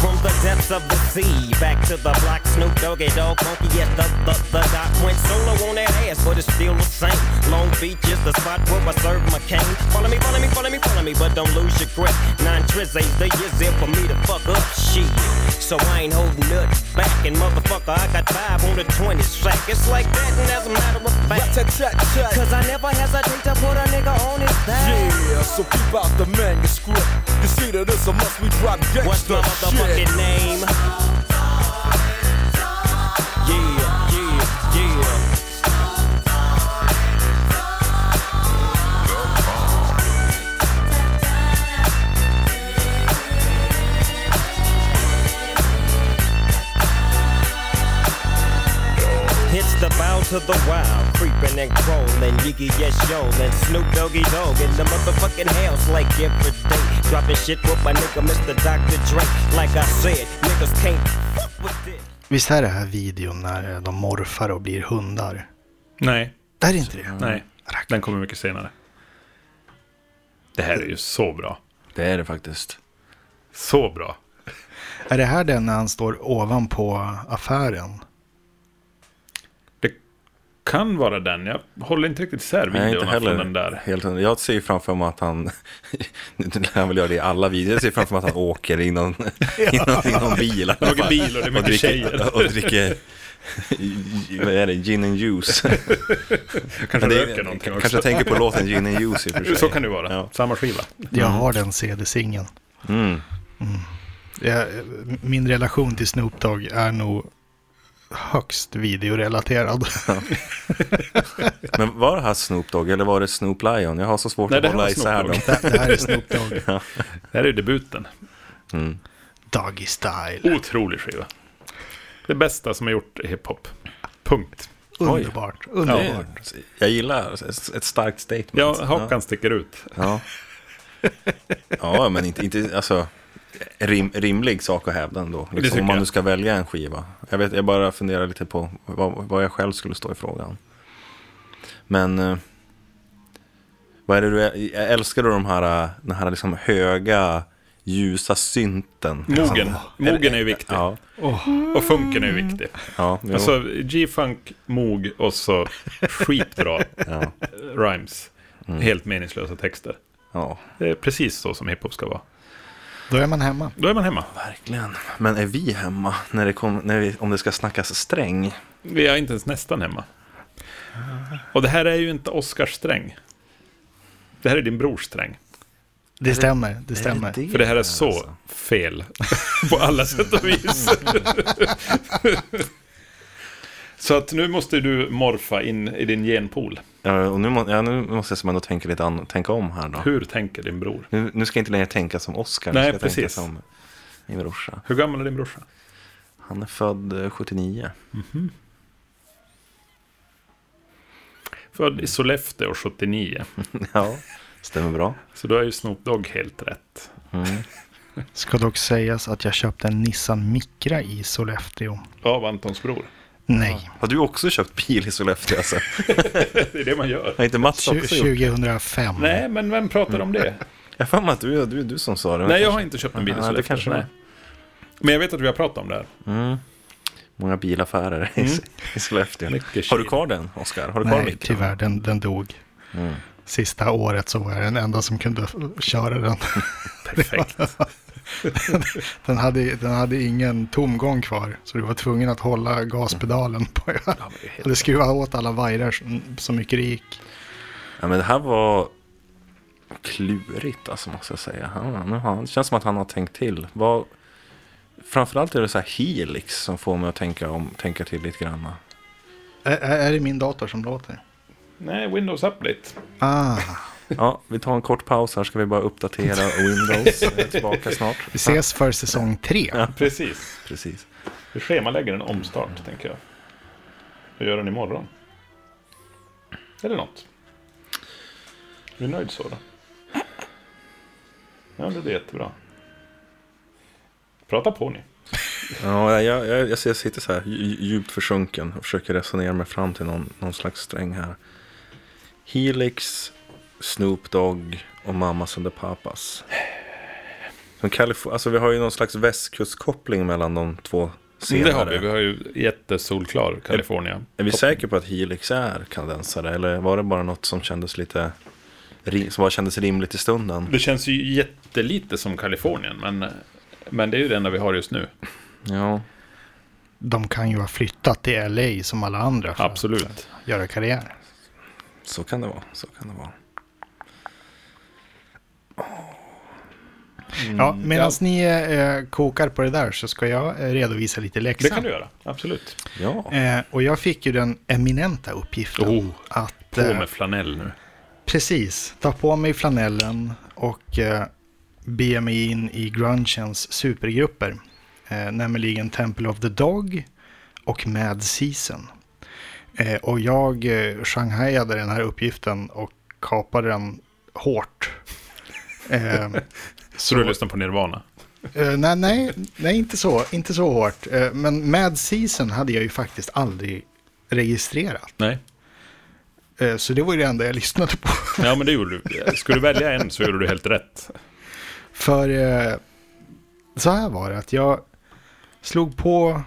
[SPEAKER 6] From the depths of the MC. Back to the block, Snoop Doggy Dog, funky yes, the, the, the doc went solo on that ass, but it's still the same. Long Beach is the spot where I serve my cane. Follow me, follow me, follow me, follow me, but don't lose your grip. Nine trips ain't the years in for me to fuck up shit. So I ain't holding nothing back, and motherfucker, I got five on the 20 sack. It's like that, and as a matter of fact, cause I never hesitate to put a nigga on his back.
[SPEAKER 7] Yeah, so keep out the manuscript. You see that it's a must we drop gangsta
[SPEAKER 6] What's my motherfucking
[SPEAKER 7] shit.
[SPEAKER 6] name? Yeah, yeah, yeah. It's the bow to the wild, creeping and crawling, Yiggy yes yo, and Snoop Doggy Dog in the motherfucking house like every day. Dropping shit with my nigga Mr. Dr. Drake. Like I said, niggas can't fuck with this.
[SPEAKER 2] Visst är det här videon när eh, de morfar och blir hundar?
[SPEAKER 1] Nej,
[SPEAKER 2] Det här är inte det.
[SPEAKER 1] nej. Den kommer mycket senare. Det här är ju så bra.
[SPEAKER 3] Det är det faktiskt.
[SPEAKER 1] Så bra.
[SPEAKER 2] Är det här den när han står ovanpå affären?
[SPEAKER 1] Det kan vara den. Jag håller inte riktigt isär
[SPEAKER 3] Nej, inte
[SPEAKER 1] videorna från
[SPEAKER 3] heller.
[SPEAKER 1] den där.
[SPEAKER 3] Helt, hundra. jag ser ju framför mig att han, nu lär han väl göra det i alla videor, jag ser framför mig att han åker i någon, i någon, i någon bil. i alla
[SPEAKER 1] Han åker
[SPEAKER 3] fall.
[SPEAKER 1] bil och det är mycket tjejer.
[SPEAKER 3] dricker, och dricker vad är det, gin and juice.
[SPEAKER 1] Jag
[SPEAKER 3] Men
[SPEAKER 1] kanske
[SPEAKER 3] det är-
[SPEAKER 1] röker någonting
[SPEAKER 3] kanske
[SPEAKER 1] också.
[SPEAKER 3] jag tänker på låten gin and juice i och för sig.
[SPEAKER 1] Så kan det vara.
[SPEAKER 3] Ja.
[SPEAKER 1] Samma skiva.
[SPEAKER 2] Jag har den CD-singeln. Mm. Jag- Min relation till Snoop Dogg är nog högst videorelaterad.
[SPEAKER 3] Men var det här Snoop Dogg eller var det Snoop Lion? Jag har så svårt
[SPEAKER 1] Nej, det
[SPEAKER 3] att
[SPEAKER 1] här
[SPEAKER 3] hålla
[SPEAKER 1] var Snoop Dogg.
[SPEAKER 3] isär dem.
[SPEAKER 2] det här är Snoop Dogg.
[SPEAKER 1] Det här är ju debuten.
[SPEAKER 2] Doggy Style.
[SPEAKER 1] Otrolig skiva. Det bästa som har gjort i hiphop. Punkt.
[SPEAKER 2] Underbart. Underbart.
[SPEAKER 3] Jag gillar ett ett starkt statement.
[SPEAKER 1] Ja, Håkan sticker ut.
[SPEAKER 3] Ja, ja men inte, inte alltså, rim, rimlig sak att hävda ändå. Liksom,
[SPEAKER 1] tycker
[SPEAKER 3] om man
[SPEAKER 1] jag.
[SPEAKER 3] nu ska välja en skiva. Jag, vet, jag bara funderar lite på vad, vad jag själv skulle stå i frågan. Men eh, vad är det du, jag älskar du de här, eh, den här liksom höga, ljusa synten?
[SPEAKER 1] Mogen. Mogen är ju viktig.
[SPEAKER 3] Ja,
[SPEAKER 1] Och funken är ju viktig.
[SPEAKER 3] ja, jo.
[SPEAKER 1] Alltså G-funk, mog och så skitbra
[SPEAKER 3] ja, Mm.
[SPEAKER 1] rhymes. Helt meningslösa texter.
[SPEAKER 3] ja,
[SPEAKER 1] Det är precis så som hiphop ska vara.
[SPEAKER 2] Då är man hemma.
[SPEAKER 1] Då är man hemma.
[SPEAKER 3] verkligen. Men är vi hemma när det kom, när vi, om det ska snackas sträng?
[SPEAKER 1] Vi är inte ens nästan hemma. Och det här är ju inte Oscars sträng. Det här är din brors sträng.
[SPEAKER 2] Det stämmer. Det stämmer.
[SPEAKER 3] det
[SPEAKER 1] För det här är så fel. På alla sätt och vis. Så att nu måste du morfa in i din genpool.
[SPEAKER 3] Ja, och nu, må, ja, nu måste jag som ändå tänka lite an, tänka om här då.
[SPEAKER 1] Hur tänker din bror?
[SPEAKER 3] Nu, nu ska jag inte längre tänka som Oscar,
[SPEAKER 1] Nej,
[SPEAKER 3] nu ska jag
[SPEAKER 1] precis.
[SPEAKER 3] tänka som min brorsa.
[SPEAKER 1] Hur gammal är din brorsa?
[SPEAKER 3] Han är född eh, 79.
[SPEAKER 1] Född i Sollefteå 79.
[SPEAKER 3] Ja, stämmer bra.
[SPEAKER 1] Så då är ju Snoop Dogg helt rätt.
[SPEAKER 2] Ska dock sägas att jag köpte en Nissan Micra i Sollefteå.
[SPEAKER 1] Av Antons bror.
[SPEAKER 2] Nej,
[SPEAKER 3] Har du också köpt bil i Sollefteå alltså?
[SPEAKER 1] Det är det man gör.
[SPEAKER 3] Har inte Mats
[SPEAKER 2] tju-
[SPEAKER 3] också gjort?
[SPEAKER 2] 2005.
[SPEAKER 1] Nej, men vem pratar om det?
[SPEAKER 3] Jag har för mig att du, du, du som sa det.
[SPEAKER 1] Nej, jag har inte köpt en bil i
[SPEAKER 3] Ja, det
[SPEAKER 1] Sollefteå.
[SPEAKER 3] kanske
[SPEAKER 1] Mm. nej.
[SPEAKER 3] var.
[SPEAKER 1] Men jag vet att vi har pratat om det här.
[SPEAKER 3] Många bilaffärer i, i Sollefteå.
[SPEAKER 1] Mm. Mycket
[SPEAKER 3] Har du
[SPEAKER 1] kyl.
[SPEAKER 3] kvar den, Oscar? Har du kvar
[SPEAKER 2] Nej,
[SPEAKER 3] micken?
[SPEAKER 2] tyvärr. Den, den dog. Sista året så var jag den enda som kunde f- köra den.
[SPEAKER 1] Perfekt.
[SPEAKER 2] Den hade, den hade ingen tomgång kvar, så du var tvungen att hålla gaspedalen på Eller skruva åt alla vajrar så- så mycket det gick.
[SPEAKER 3] Ja, men det här var klurigt alltså, måste jag säga. Han, nu har han, det känns som att han har tänkt till. Vad, framförallt är det så här Helix som får mig att tänka, om, tänka till lite grann.
[SPEAKER 2] Ä- Ä- är det min dator som låter?
[SPEAKER 1] nej, Windows Update.
[SPEAKER 2] Ah,
[SPEAKER 3] Ja, vi tar en kort paus här ska vi bara uppdatera Windows. Jag är tillbaka snart.
[SPEAKER 2] vi ses för säsong tre.
[SPEAKER 1] Precis.
[SPEAKER 3] Precis.
[SPEAKER 1] Vi schemalägger en omstart, tänker jag. Och gör den imorgon. Eller något. Är du nöjd så då? Ja, det är jättebra. Prata på ni.
[SPEAKER 3] Ja, jag, jag, jag, ser- jag sitter så här dju- djupt försjunken och försöker resonera mig fram till någon, någon slags sträng här. Helix, Snoop Dogg och Mamas and the Papas. Som Kalif- alltså, vi har ju någon slags västkustkoppling mellan de två
[SPEAKER 1] Mm,
[SPEAKER 3] senare.
[SPEAKER 1] Det har vi. Vi har ju jättesolklar Kalifornien.
[SPEAKER 3] Är vi säkra på att Helix är kanadensare? Eller var det bara något som kändes lite... ri- Som bara kändes rimligt i stunden?
[SPEAKER 1] Det känns ju jättelite som Kalifornien, men, men det är ju det enda vi har just nu.
[SPEAKER 3] Ja.
[SPEAKER 2] De kan ju ha flyttat till LA som alla andra för
[SPEAKER 1] Absolut.
[SPEAKER 2] att göra karriär.
[SPEAKER 3] Så kan det vara. Så kan det vara.
[SPEAKER 1] Mm.
[SPEAKER 2] ja, Medan ni eh, kokar på det där så ska jag eh, redovisa lite läxa.
[SPEAKER 1] Det kan du göra. Absolut.
[SPEAKER 3] Ja.
[SPEAKER 2] Eh, och jag fick ju den eminenta uppgiften
[SPEAKER 1] Oh,
[SPEAKER 2] att...
[SPEAKER 1] På
[SPEAKER 2] eh,
[SPEAKER 1] med flanell nu.
[SPEAKER 2] Precis, ta på mig flanellen och eh, be mig in i grungens supergrupper. Eh, nämligen Temple of the Dog och Mad Season. Eh, och jag eh, shanghajade den här uppgiften och kapade den hårt. Eh,
[SPEAKER 1] Så du lyssnar på Nirvana?
[SPEAKER 2] Eh, nej, nej, nej, inte så, inte så hårt. Eh, men Mad Season hade jag ju faktiskt aldrig registrerat.
[SPEAKER 1] Nej.
[SPEAKER 2] Eh, så det var ju det enda jag lyssnade på.
[SPEAKER 1] Ja, men det gjorde du. Skulle du välja en så gjorde du helt rätt.
[SPEAKER 2] För eh, så här var det att jag slog på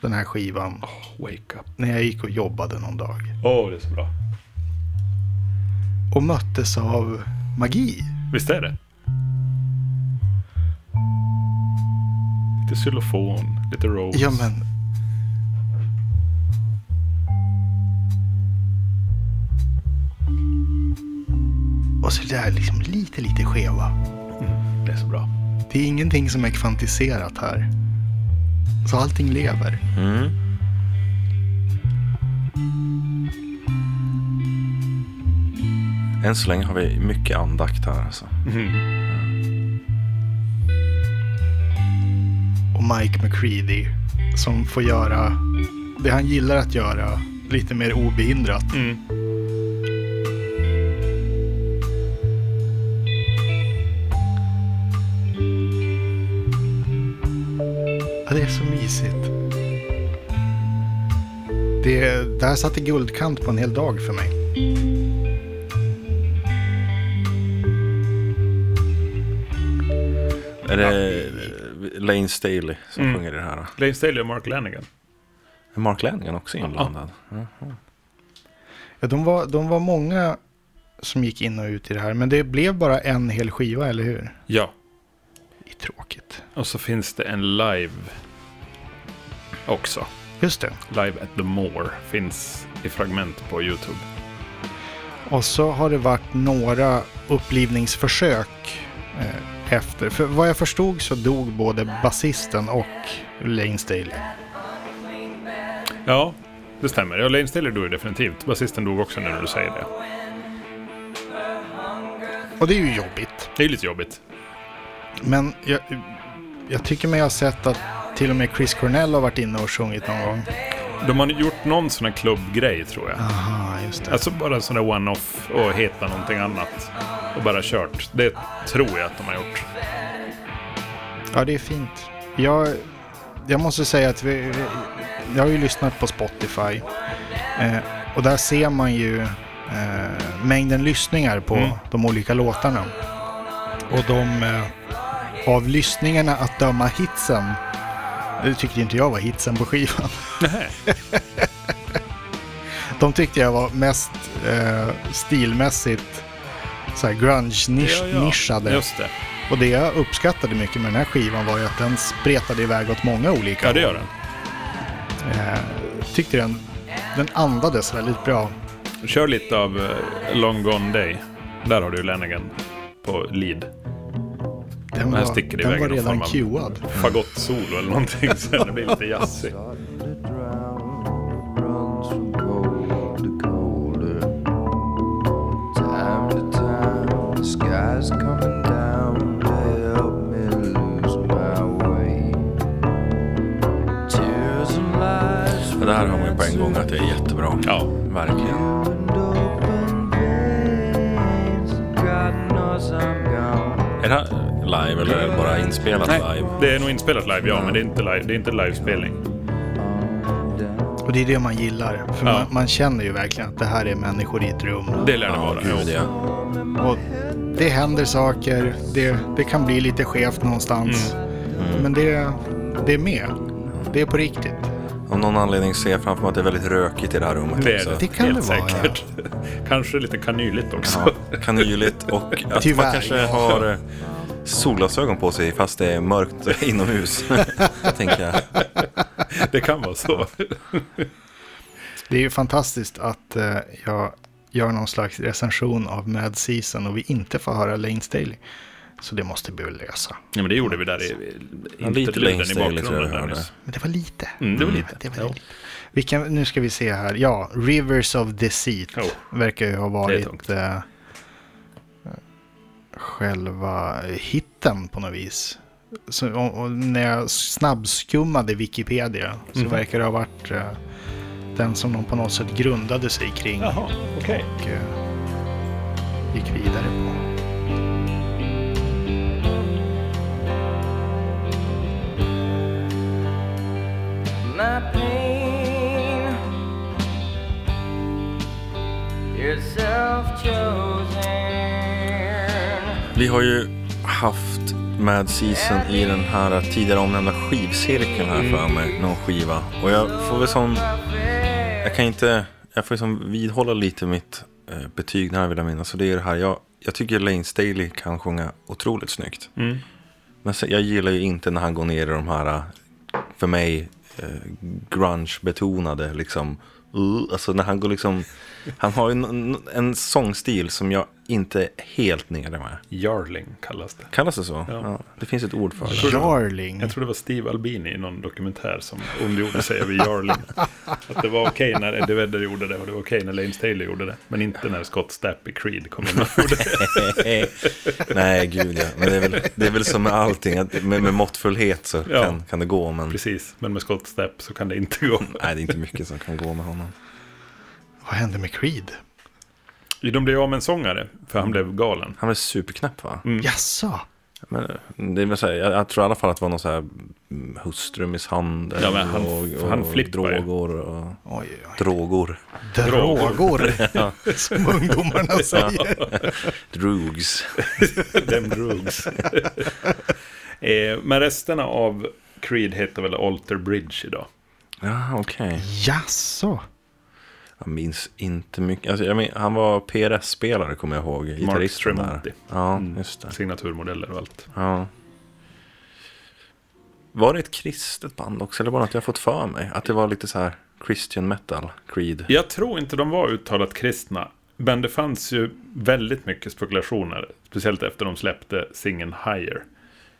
[SPEAKER 2] den här skivan
[SPEAKER 1] Oh, Wake up.
[SPEAKER 2] när jag gick och jobbade någon dag.
[SPEAKER 1] Åh, det är så bra.
[SPEAKER 2] Och möttes av magi.
[SPEAKER 1] Visst är det? Lite xylofon, lite Rose.
[SPEAKER 2] Ja men. Och så det där liksom lite, lite skeva.
[SPEAKER 1] Mm, Det är så bra.
[SPEAKER 2] Det är ingenting som är kvantiserat här. Så allting lever.
[SPEAKER 3] Än så länge har vi mycket andakt här alltså.
[SPEAKER 2] och Mike McCready som får göra det han gillar att göra lite mer obehindrat. Ja, det är så mysigt. Det, det här satte guldkant på en hel dag för mig.
[SPEAKER 3] Är det eh, Lane Staley som sjunger i det här? då?
[SPEAKER 1] Lane Staley och Mark Lanigan.
[SPEAKER 3] Är Mark Lanigan också inblandad?
[SPEAKER 2] Ja, de, var, de var många som gick in och ut i det här, men det blev bara en hel skiva, eller hur?
[SPEAKER 1] Ja.
[SPEAKER 2] Det är tråkigt.
[SPEAKER 1] Och så finns det en live också.
[SPEAKER 2] Just det.
[SPEAKER 1] Live at the Moor finns i fragment på YouTube.
[SPEAKER 2] Och så har det varit några upplivningsförsök eh, efter. För vad jag förstod så dog både basisten och Lane Staley.
[SPEAKER 1] Ja, det stämmer. Ja, Lane Staley dog ju definitivt. Basisten dog också nu när du säger det.
[SPEAKER 2] Och det är ju jobbigt.
[SPEAKER 1] Det är ju lite jobbigt.
[SPEAKER 2] Men jag, jag tycker mig ha sett att till och med Chris Cornell har varit inne och sjungit någon gång.
[SPEAKER 1] De har gjort någon sån här klubbgrej tror jag.
[SPEAKER 2] Aha, Ah, just det.
[SPEAKER 1] Alltså bara en sån där one-off och heta någonting annat. Och bara kört. Det tror jag att de har gjort.
[SPEAKER 2] Ja, det är fint. Jag, jag måste säga att vi, vi, jag har ju lyssnat på Spotify. Eh, och där ser man ju eh, mängden lyssningar på de olika låtarna. Och de, eh, av lyssningarna att döma hitsen, det tyckte inte jag var hitsen på skivan.
[SPEAKER 1] Nej.
[SPEAKER 2] De tyckte jag var mest eh, stilmässigt så här grunge-nischade.
[SPEAKER 1] Just det.
[SPEAKER 2] Och det jag uppskattade mycket med den här skivan var ju att den spretade iväg åt många olika Eh,
[SPEAKER 1] Ja, det gör den.
[SPEAKER 2] tyckte den, den andades väldigt bra.
[SPEAKER 1] Kör lite av eh, Long Gone Day. Där har du Lennigan på lead.
[SPEAKER 2] Den
[SPEAKER 1] Den här
[SPEAKER 2] var,
[SPEAKER 1] sticker
[SPEAKER 2] den
[SPEAKER 1] iväg
[SPEAKER 2] var
[SPEAKER 1] i någon
[SPEAKER 2] redan
[SPEAKER 1] form
[SPEAKER 2] cuead.
[SPEAKER 1] Fagottsolo eller någonting sen. Det blir lite jazzigt.
[SPEAKER 8] runs from cold to colder. Time to time, the sky's coming down to help me lose my way. Tears and lights
[SPEAKER 3] Det där hör man ju på en gång att det är jättebra.
[SPEAKER 1] Ja.
[SPEAKER 3] Verkligen.
[SPEAKER 8] and open veins. God knows I'm gone.
[SPEAKER 3] Är det här live eller är det bara inspelat live?
[SPEAKER 1] Det är nog inspelat live, ja. Men det är inte, live, det är inte livespelning.
[SPEAKER 2] Och det är det man gillar. För
[SPEAKER 1] Ja.
[SPEAKER 2] man, man känner ju verkligen att det här är människor i ett rum.
[SPEAKER 1] Det lär det
[SPEAKER 3] Ja,
[SPEAKER 1] vara.
[SPEAKER 3] gud ja.
[SPEAKER 2] Och det händer saker, det, det kan bli lite skevt någonstans.
[SPEAKER 1] Mm.
[SPEAKER 2] Men det, det är med. Det är på riktigt.
[SPEAKER 3] Av någon anledning ser jag framför mig att det är väldigt rökigt i det här rummet
[SPEAKER 1] Det är
[SPEAKER 3] också.
[SPEAKER 1] det,
[SPEAKER 2] Det kan
[SPEAKER 1] helt
[SPEAKER 2] det vara,
[SPEAKER 1] säkert. Kanske lite kanyligt också.
[SPEAKER 3] Ja, kanyligt och att
[SPEAKER 2] Tyvärr.
[SPEAKER 3] man kanske har eh, solglasögon på sig fast det är mörkt inomhus. tänker jag.
[SPEAKER 1] Det kan vara så.
[SPEAKER 2] Det är ju fantastiskt att eh, jag gör någon slags recension av Mad Season och vi inte får höra Lane Staley. Så det måste vi väl lösa.
[SPEAKER 1] Ja, men det gjorde vi där i
[SPEAKER 3] Ja, lite
[SPEAKER 1] interluden
[SPEAKER 3] längst
[SPEAKER 1] i
[SPEAKER 3] där, lite
[SPEAKER 1] bakgrunden. Där
[SPEAKER 3] rörande.
[SPEAKER 1] nyss.
[SPEAKER 2] Men det var lite.
[SPEAKER 1] Mm, det var lite.
[SPEAKER 2] Det var lite. Vi kan, nu ska vi se här. Ja, Rivers of Deceit
[SPEAKER 1] Oh.
[SPEAKER 2] verkar ju ha
[SPEAKER 1] tungt.
[SPEAKER 2] varit eh, själva hitten på något vis. Så, och, och när jag snabbskummade Wikipedia så
[SPEAKER 1] Mm.
[SPEAKER 2] verkar det ha varit eh, den som de på något sätt grundade sig kring
[SPEAKER 1] Jaha, okej.
[SPEAKER 2] och eh, gick vidare på.
[SPEAKER 5] my pain. Yourself chosen.
[SPEAKER 3] Vi har ju haft Mad Season i den här tidigare omnämnda skivcirkeln här för mig, någon skiva. Och jag får väl som, jag kan inte, jag får ju som vidhålla lite mitt eh, betyg när jag vill jag minnas. Så det är det här, jag, jag tycker Lane Staley kan sjunga otroligt snyggt. Men sen, jag gillar ju inte när han går ner i de här, eh, för mig, eh, grunge-betonade liksom. Uh, alltså när han går liksom, han har ju en, en sångstil som jag inte är helt nere med.
[SPEAKER 1] Jarling kallas det.
[SPEAKER 3] Kallas det så?
[SPEAKER 1] Ja.
[SPEAKER 3] Ja. Det finns ett ord för det.
[SPEAKER 2] Jarling.
[SPEAKER 1] Jag tror det var Steve Albini i någon dokumentär som ondgjorde sig över Jarling. Att det var okej när Eddie Vedder gjorde det och det var okej när Lane Staley gjorde det. Men inte när Scott Stapp i Creed kom in och gjorde det.
[SPEAKER 3] Nej, gud ja. Men det är väl, det är väl som med allting, att med, med måttfullhet så
[SPEAKER 1] Ja.
[SPEAKER 3] kan, kan det gå. Men
[SPEAKER 1] Precis, men med Scott Stapp så kan det inte gå.
[SPEAKER 3] nej, det är inte mycket som kan gå med honom.
[SPEAKER 2] Vad hände med Creed?
[SPEAKER 1] De blev av med en sångare, för han blev galen.
[SPEAKER 3] Han är superknäpp va?
[SPEAKER 1] Mm.
[SPEAKER 2] Jaså?
[SPEAKER 3] Men, det vill säga, jag, jag tror i alla fall att det var någon så här mm, hustrumisshandel
[SPEAKER 1] Ja, men han-
[SPEAKER 3] och, och
[SPEAKER 1] han flippar ju.
[SPEAKER 3] droger. Och,
[SPEAKER 2] Oj, oj, oj.
[SPEAKER 3] droger.
[SPEAKER 2] Droger, som ungdomarna säger.
[SPEAKER 3] Drugs.
[SPEAKER 1] Them drugs. eh, men resterna av Creed heter väl Alter Bridge idag.
[SPEAKER 3] Ja, okej.
[SPEAKER 2] Jaså?
[SPEAKER 3] Jag minns inte mycket. Alltså, jag men, han var PRS-spelare kommer jag ihåg. Gitarristen där.
[SPEAKER 1] Tremonti. Mm.
[SPEAKER 3] Ja, just det.
[SPEAKER 1] Signaturmodeller och allt.
[SPEAKER 3] Ja. Var det ett kristet band också? Eller bara att jag har fått för mig? Att det var lite så här Christian metal, Creed.
[SPEAKER 1] Jag tror inte de var uttalat kristna. Men det fanns ju väldigt mycket spekulationer. Speciellt efter de släppte singeln Higher.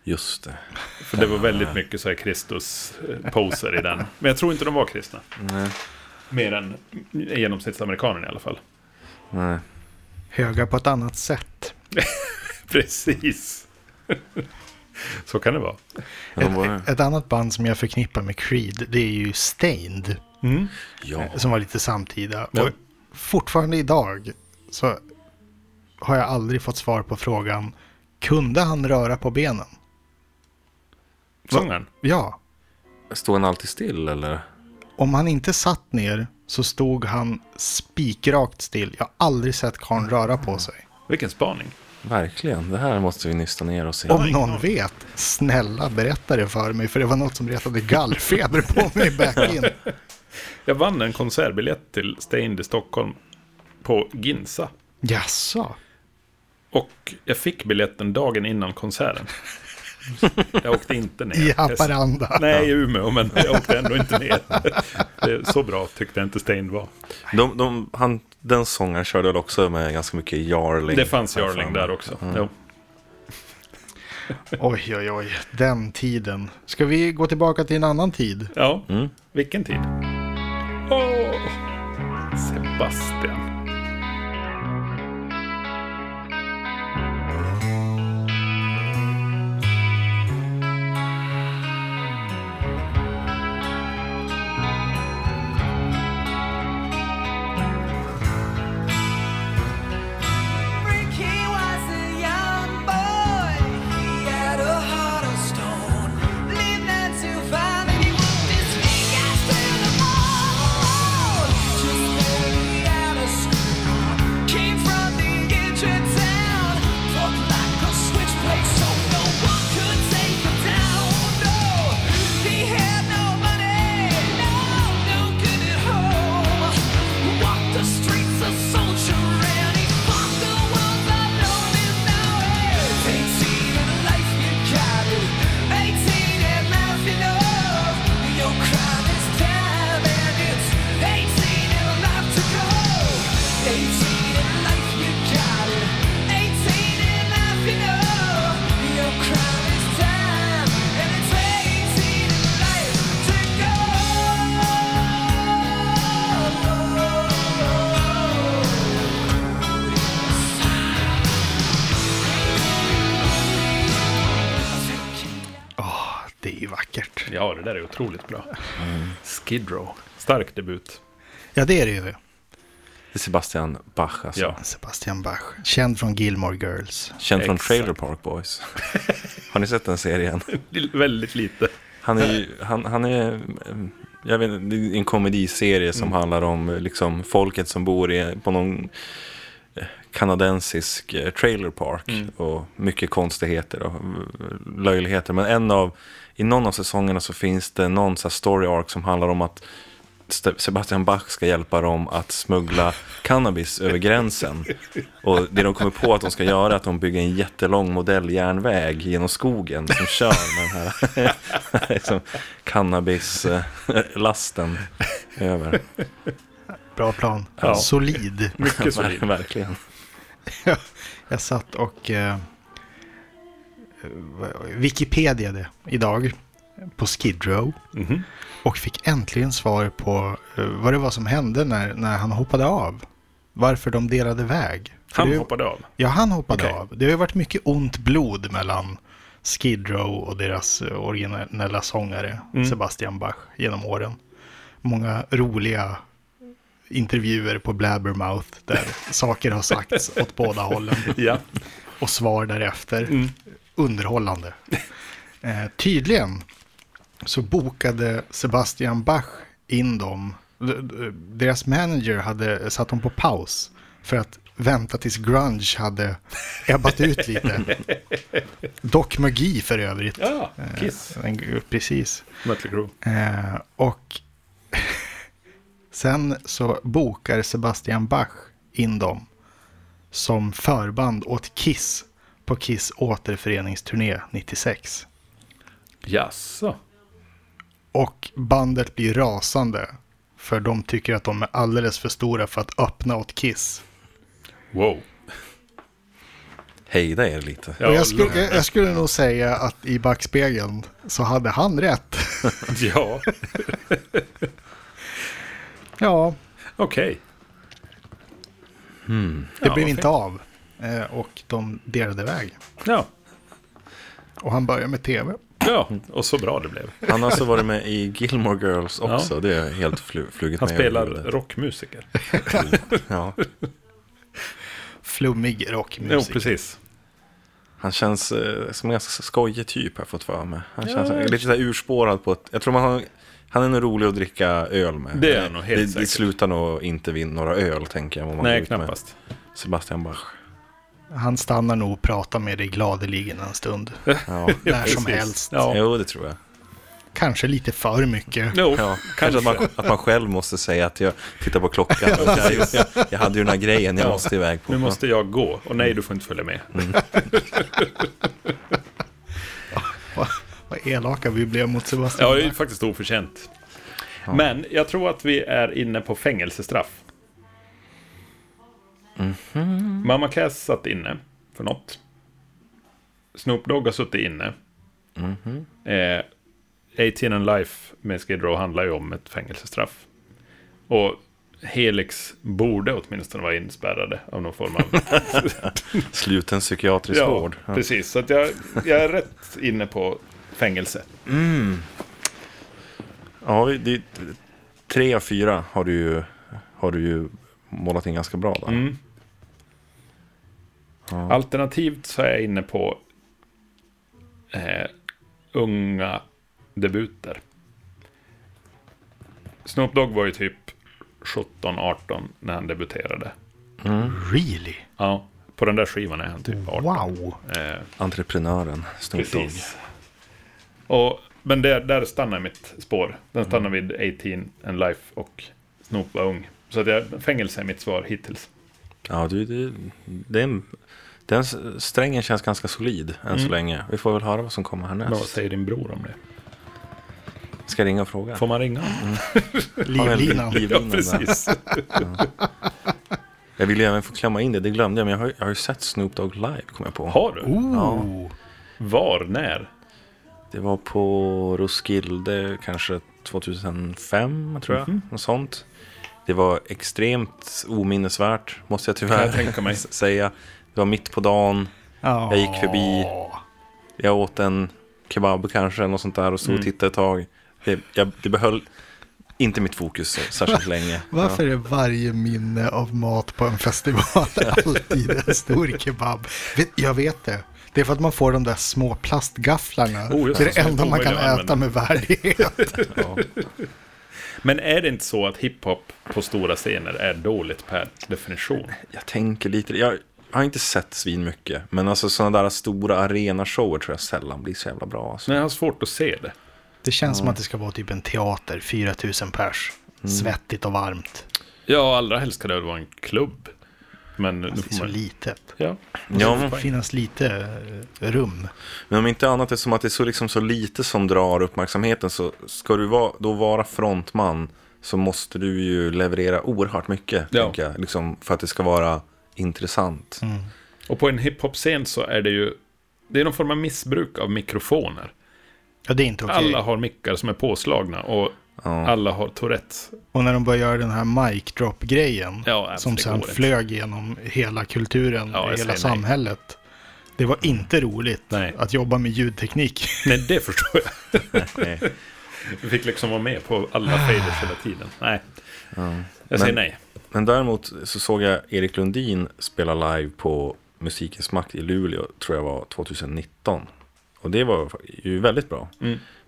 [SPEAKER 3] Just det.
[SPEAKER 1] För det var väldigt mycket så här Kristus-poser i den. Men jag tror inte de var kristna. Mer än genomsnittsamerikanen i alla fall.
[SPEAKER 3] Nej.
[SPEAKER 2] Höga på ett annat sätt.
[SPEAKER 1] Precis. så kan det vara.
[SPEAKER 3] Men de var...
[SPEAKER 2] Ett, ett annat band som jag förknippar med Creed, det är ju Stained,
[SPEAKER 3] Ja.
[SPEAKER 2] som var lite samtida. Och fortfarande idag så har jag aldrig fått svar på frågan, kunde han röra på benen?
[SPEAKER 1] Sångaren.
[SPEAKER 2] Ja,
[SPEAKER 3] Står han alltid still eller?
[SPEAKER 2] om han inte satt ner så stod han spikrakt still. Jag har aldrig sett karln röra på sig.
[SPEAKER 1] Vilken spaning.
[SPEAKER 3] Verkligen. Det här måste vi nysta ner oss i.
[SPEAKER 2] Om någon vet, snälla berätta det för mig, för det var något som retade gallfeber på mig back in.
[SPEAKER 1] Jag vann en konsertbiljett till Stained i Stockholm på Ginza.
[SPEAKER 2] Jaså?
[SPEAKER 1] Och jag fick biljetten dagen innan konserten. Jag åkte inte ner.
[SPEAKER 2] I Haparanda.
[SPEAKER 1] Nej, i Umeå, men jag åkte ändå inte ner. Det är så bra tyckte jag inte Stein var.
[SPEAKER 3] De, de, han, den sången körde väl också med ganska mycket Jarling.
[SPEAKER 1] Det fanns Jarling där Mm. också. Jo.
[SPEAKER 2] Oj, oj, oj. Den tiden. Ska vi gå tillbaka till en annan tid?
[SPEAKER 1] Ja, Mm. vilken tid. Åh, Sebastian.
[SPEAKER 5] He was a young boy. He had a heart of stone. Lived not too far that he would. His fingers to the bone. Just barely out of
[SPEAKER 2] såklart.
[SPEAKER 1] Ja, det där är otroligt bra. Skid Row. Stark debut.
[SPEAKER 2] Ja, det är det ju.
[SPEAKER 3] Det är Sebastian Bach alltså.
[SPEAKER 1] Ja.
[SPEAKER 2] Sebastian Bach, känd från Gilmore Girls.
[SPEAKER 3] Känd från
[SPEAKER 1] Exakt.
[SPEAKER 3] Trailer Park Boys. Har ni sett den serien?
[SPEAKER 1] L- Väldigt lite.
[SPEAKER 3] Han är ju, han, han är, eh, jag vet inte, det är en komediserie som handlar om eh, liksom folket som bor i, på någon eh, kanadensisk eh, trailer park och mycket konstigheter och eh, löjligheter. Men en av, i någon av säsongerna så finns det någon så här story arc som handlar om att Ste- Sebastian Bach ska hjälpa dem att smuggla cannabis över gränsen. Och det de kommer på att de ska göra är att de bygger en jättelång modelljärnväg genom skogen som kör med den här liksom, cannabislasten över.
[SPEAKER 2] Bra plan.
[SPEAKER 1] Ja.
[SPEAKER 2] Solid.
[SPEAKER 1] Mycket
[SPEAKER 3] Ver-
[SPEAKER 1] solid.
[SPEAKER 3] Verkligen.
[SPEAKER 2] Jag satt och eh, Wikipediade idag på Skid Row.
[SPEAKER 1] Mhm.
[SPEAKER 2] Och fick äntligen svar på eh, vad det var som hände när, när han hoppade av. Varför de delade väg. För
[SPEAKER 1] Han
[SPEAKER 2] det-
[SPEAKER 1] hoppade av.
[SPEAKER 2] Ja, han hoppade
[SPEAKER 1] Okej.
[SPEAKER 2] av. Det har ju varit mycket ont blod mellan Skid Row och deras eh, originella sångare
[SPEAKER 1] Mm.
[SPEAKER 2] Sebastian Bach genom åren. Många roliga intervjuer på Blabbermouth där saker har sagts åt båda hållen
[SPEAKER 1] Ja.
[SPEAKER 2] och svar därefter. Underhållande. Eh, tydligen så bokade Sebastian Bach in dem. D- d- Deras manager hade satt dem på paus för att vänta tills grunge hade ebbat ut lite. Dock magi för övrigt.
[SPEAKER 1] Ja, Kiss.
[SPEAKER 2] Den- Precis.
[SPEAKER 1] Mötley Crüe.
[SPEAKER 2] Eh, och sen så bokar Sebastian Bach in dem som förband åt Kiss på Kiss återföreningsturné 96.
[SPEAKER 1] Jaså?
[SPEAKER 2] Och bandet blir rasande för de tycker att de är alldeles för stora för att öppna åt Kiss.
[SPEAKER 1] Wow.
[SPEAKER 3] Hejda er lite.
[SPEAKER 1] Ja,
[SPEAKER 2] och jag, skulle, jag, jag skulle nog säga att i backspegeln så hade han rätt.
[SPEAKER 1] ja.
[SPEAKER 2] ja,
[SPEAKER 1] okej.
[SPEAKER 2] det
[SPEAKER 1] Ja,
[SPEAKER 2] blev
[SPEAKER 1] vad
[SPEAKER 2] inte
[SPEAKER 1] fint.
[SPEAKER 2] av. Eh, och de delade väg.
[SPEAKER 1] Ja.
[SPEAKER 2] Och han började med tv.
[SPEAKER 1] ja, och så bra det blev.
[SPEAKER 3] Han har alltså varit med i Gilmore Girls också. Det är helt flu- flugit
[SPEAKER 1] Han
[SPEAKER 3] mig
[SPEAKER 1] spelar
[SPEAKER 3] över huvudet.
[SPEAKER 1] rockmusiker.
[SPEAKER 3] Ja.
[SPEAKER 2] Flummig rockmusik.
[SPEAKER 1] Jo, precis.
[SPEAKER 3] Han känns eh, som en ganska skojig typ har jag fått för mig. Han
[SPEAKER 1] Ja,
[SPEAKER 3] känns
[SPEAKER 1] jag-
[SPEAKER 3] lite så här urspårad på ett... Jag tror man har, han är nog rolig att dricka öl med.
[SPEAKER 1] Det är han nog helt
[SPEAKER 3] det, det
[SPEAKER 1] säkert.
[SPEAKER 3] slutar nog inte vid några öl tänker jag. Om man går
[SPEAKER 1] Nej,
[SPEAKER 3] ut med
[SPEAKER 1] knappast.
[SPEAKER 3] Sebastian Bach.
[SPEAKER 2] Han stannar nog och pratar med dig gladeligen en stund.
[SPEAKER 3] Ja.
[SPEAKER 2] När som
[SPEAKER 1] precis.
[SPEAKER 2] helst.
[SPEAKER 1] Ja.
[SPEAKER 3] Jo, det tror jag.
[SPEAKER 2] Kanske lite för mycket.
[SPEAKER 1] Jo,
[SPEAKER 3] Ja, kanske
[SPEAKER 1] kanske.
[SPEAKER 3] att man, att man själv måste säga att jag tittar på klockan. jag, jag, jag hade ju den här grejen jag
[SPEAKER 1] Ja.
[SPEAKER 3] måste iväg på.
[SPEAKER 1] Nu måste jag gå. Och nej, du får inte följa med.
[SPEAKER 2] Vad, vad elaka vi blev mot Sebastian.
[SPEAKER 1] Ja, det är ju faktiskt oförtjänt. Men jag tror att vi är inne på fängelsestraff. Mamma Cass satt inne för något. Snoop Dogg har suttit inne. Eh, 18 and Life med Skid Row handlar ju om ett fängelsestraff. Och Helix borde åtminstone vara inspärrade av någon form av
[SPEAKER 3] Sluten psykiatrisk vård. Ja.
[SPEAKER 1] Precis, så att jag, jag är rätt inne på fängelse.
[SPEAKER 3] Ja, vi- det, tre av fyra har du ju, har du ju målat in ganska bra. Där.
[SPEAKER 1] Mm. Alternativt så är jag inne på eh, unga debuter. Snoop Dogg var ju typ 17-18 när han debuterade.
[SPEAKER 2] Really?
[SPEAKER 1] Ja, på den där skivan är han typ 18.
[SPEAKER 2] Wow.
[SPEAKER 1] Eh,
[SPEAKER 3] Entreprenören, Snoop Dogg.
[SPEAKER 1] Precis. Och, men där, där stannar mitt spår. Den stannar vid 18 and life och Snoop var ung. Så att jag, fängelse är mitt svar hittills.
[SPEAKER 3] Ja, du, det, det är en, den s- strängen känns ganska solid än
[SPEAKER 1] Mm.
[SPEAKER 3] så länge. Vi får väl höra vad som kommer
[SPEAKER 1] Men vad
[SPEAKER 3] härnäst.
[SPEAKER 1] säger din bror om det?
[SPEAKER 3] Ska jag ringa och fråga?
[SPEAKER 1] Får man ringa honom?
[SPEAKER 2] Livlinan.
[SPEAKER 1] Ja,
[SPEAKER 3] Livlinan där.
[SPEAKER 1] precis.
[SPEAKER 3] Jag ville ju även få klämma in det, det glömde jag. Men jag har, ju- jag har ju sett Snoop Dogg live, kommer jag på.
[SPEAKER 1] Har du?
[SPEAKER 2] Oh.
[SPEAKER 1] Var? När?
[SPEAKER 3] Det var på Roskilde kanske 2005 tror jag.
[SPEAKER 2] Mhm.
[SPEAKER 3] Något sånt. Det var extremt ominnesvärt måste jag tyvärr
[SPEAKER 1] Kan jag tänka mig.
[SPEAKER 3] s- säga. Det var mitt på dagen,
[SPEAKER 2] Ja.
[SPEAKER 3] jag gick förbi, jag åt en kebab kanske, något sånt där och stod och
[SPEAKER 2] Mm.
[SPEAKER 3] tittade ett tag. Det, jag, det behöll inte mitt fokus så- särskilt länge.
[SPEAKER 2] Varför är varje minne av mat på en festival alltid en stor kebab? Vet- Jag vet det. Det är för att man får de där små plastgafflarna.
[SPEAKER 1] Oh, just
[SPEAKER 2] det är det
[SPEAKER 1] det, som är
[SPEAKER 2] enda man kan
[SPEAKER 1] omöjliga att
[SPEAKER 2] äta med värdighet.
[SPEAKER 3] Ja, ja.
[SPEAKER 1] Men är det inte så att hiphop på stora scener är dåligt per definition?
[SPEAKER 3] Jag tänker lite, jag har inte sett svin mycket, men alltså sådana där stora arenashower tror jag sällan blir så jävla bra. Alltså.
[SPEAKER 1] Nej, jag har svårt att se det.
[SPEAKER 2] Det känns som att det ska vara typ en teater, 4000 pers.
[SPEAKER 1] Mm.
[SPEAKER 2] Svettigt och varmt.
[SPEAKER 1] Ja, allra helst ska det väl vara en klubb. Men nu
[SPEAKER 2] Det är
[SPEAKER 1] får
[SPEAKER 2] så
[SPEAKER 1] man...
[SPEAKER 2] litet.
[SPEAKER 1] Ja.
[SPEAKER 3] Ja,
[SPEAKER 2] Det
[SPEAKER 3] men-
[SPEAKER 2] får finnas lite eh, rum.
[SPEAKER 3] Men om inte annat är som att det är så, liksom, så lite som drar uppmärksamheten så ska du va, då vara frontman så måste du ju leverera oerhört mycket
[SPEAKER 1] Ja.
[SPEAKER 3] tänker jag, liksom, för att det ska vara intressant.
[SPEAKER 1] Och på en hiphop-scen så är det ju... Det är någon form av missbruk av mikrofoner.
[SPEAKER 2] Ja, det är inte okej.
[SPEAKER 1] Alla har mickar som är påslagna och alla har Tourettes.
[SPEAKER 2] Och när de började göra den här mic drop-grejen
[SPEAKER 1] Ja, alltså,
[SPEAKER 2] som
[SPEAKER 1] det
[SPEAKER 2] sen
[SPEAKER 1] går inte.
[SPEAKER 2] flög genom hela kulturen,
[SPEAKER 1] Ja, jag
[SPEAKER 2] hela
[SPEAKER 1] säger nej.
[SPEAKER 2] samhället. Det var inte roligt
[SPEAKER 1] Nej.
[SPEAKER 2] att jobba med ljudteknik.
[SPEAKER 1] Nej, det förstår jag. Vi fick liksom vara med på alla faders hela tiden. Nej. Jag säger
[SPEAKER 3] Men-
[SPEAKER 1] nej.
[SPEAKER 3] Men däremot så såg jag Erik Lundin spela live på Musikens Makt i Luleå, tror jag var 2019. Och det var ju väldigt bra.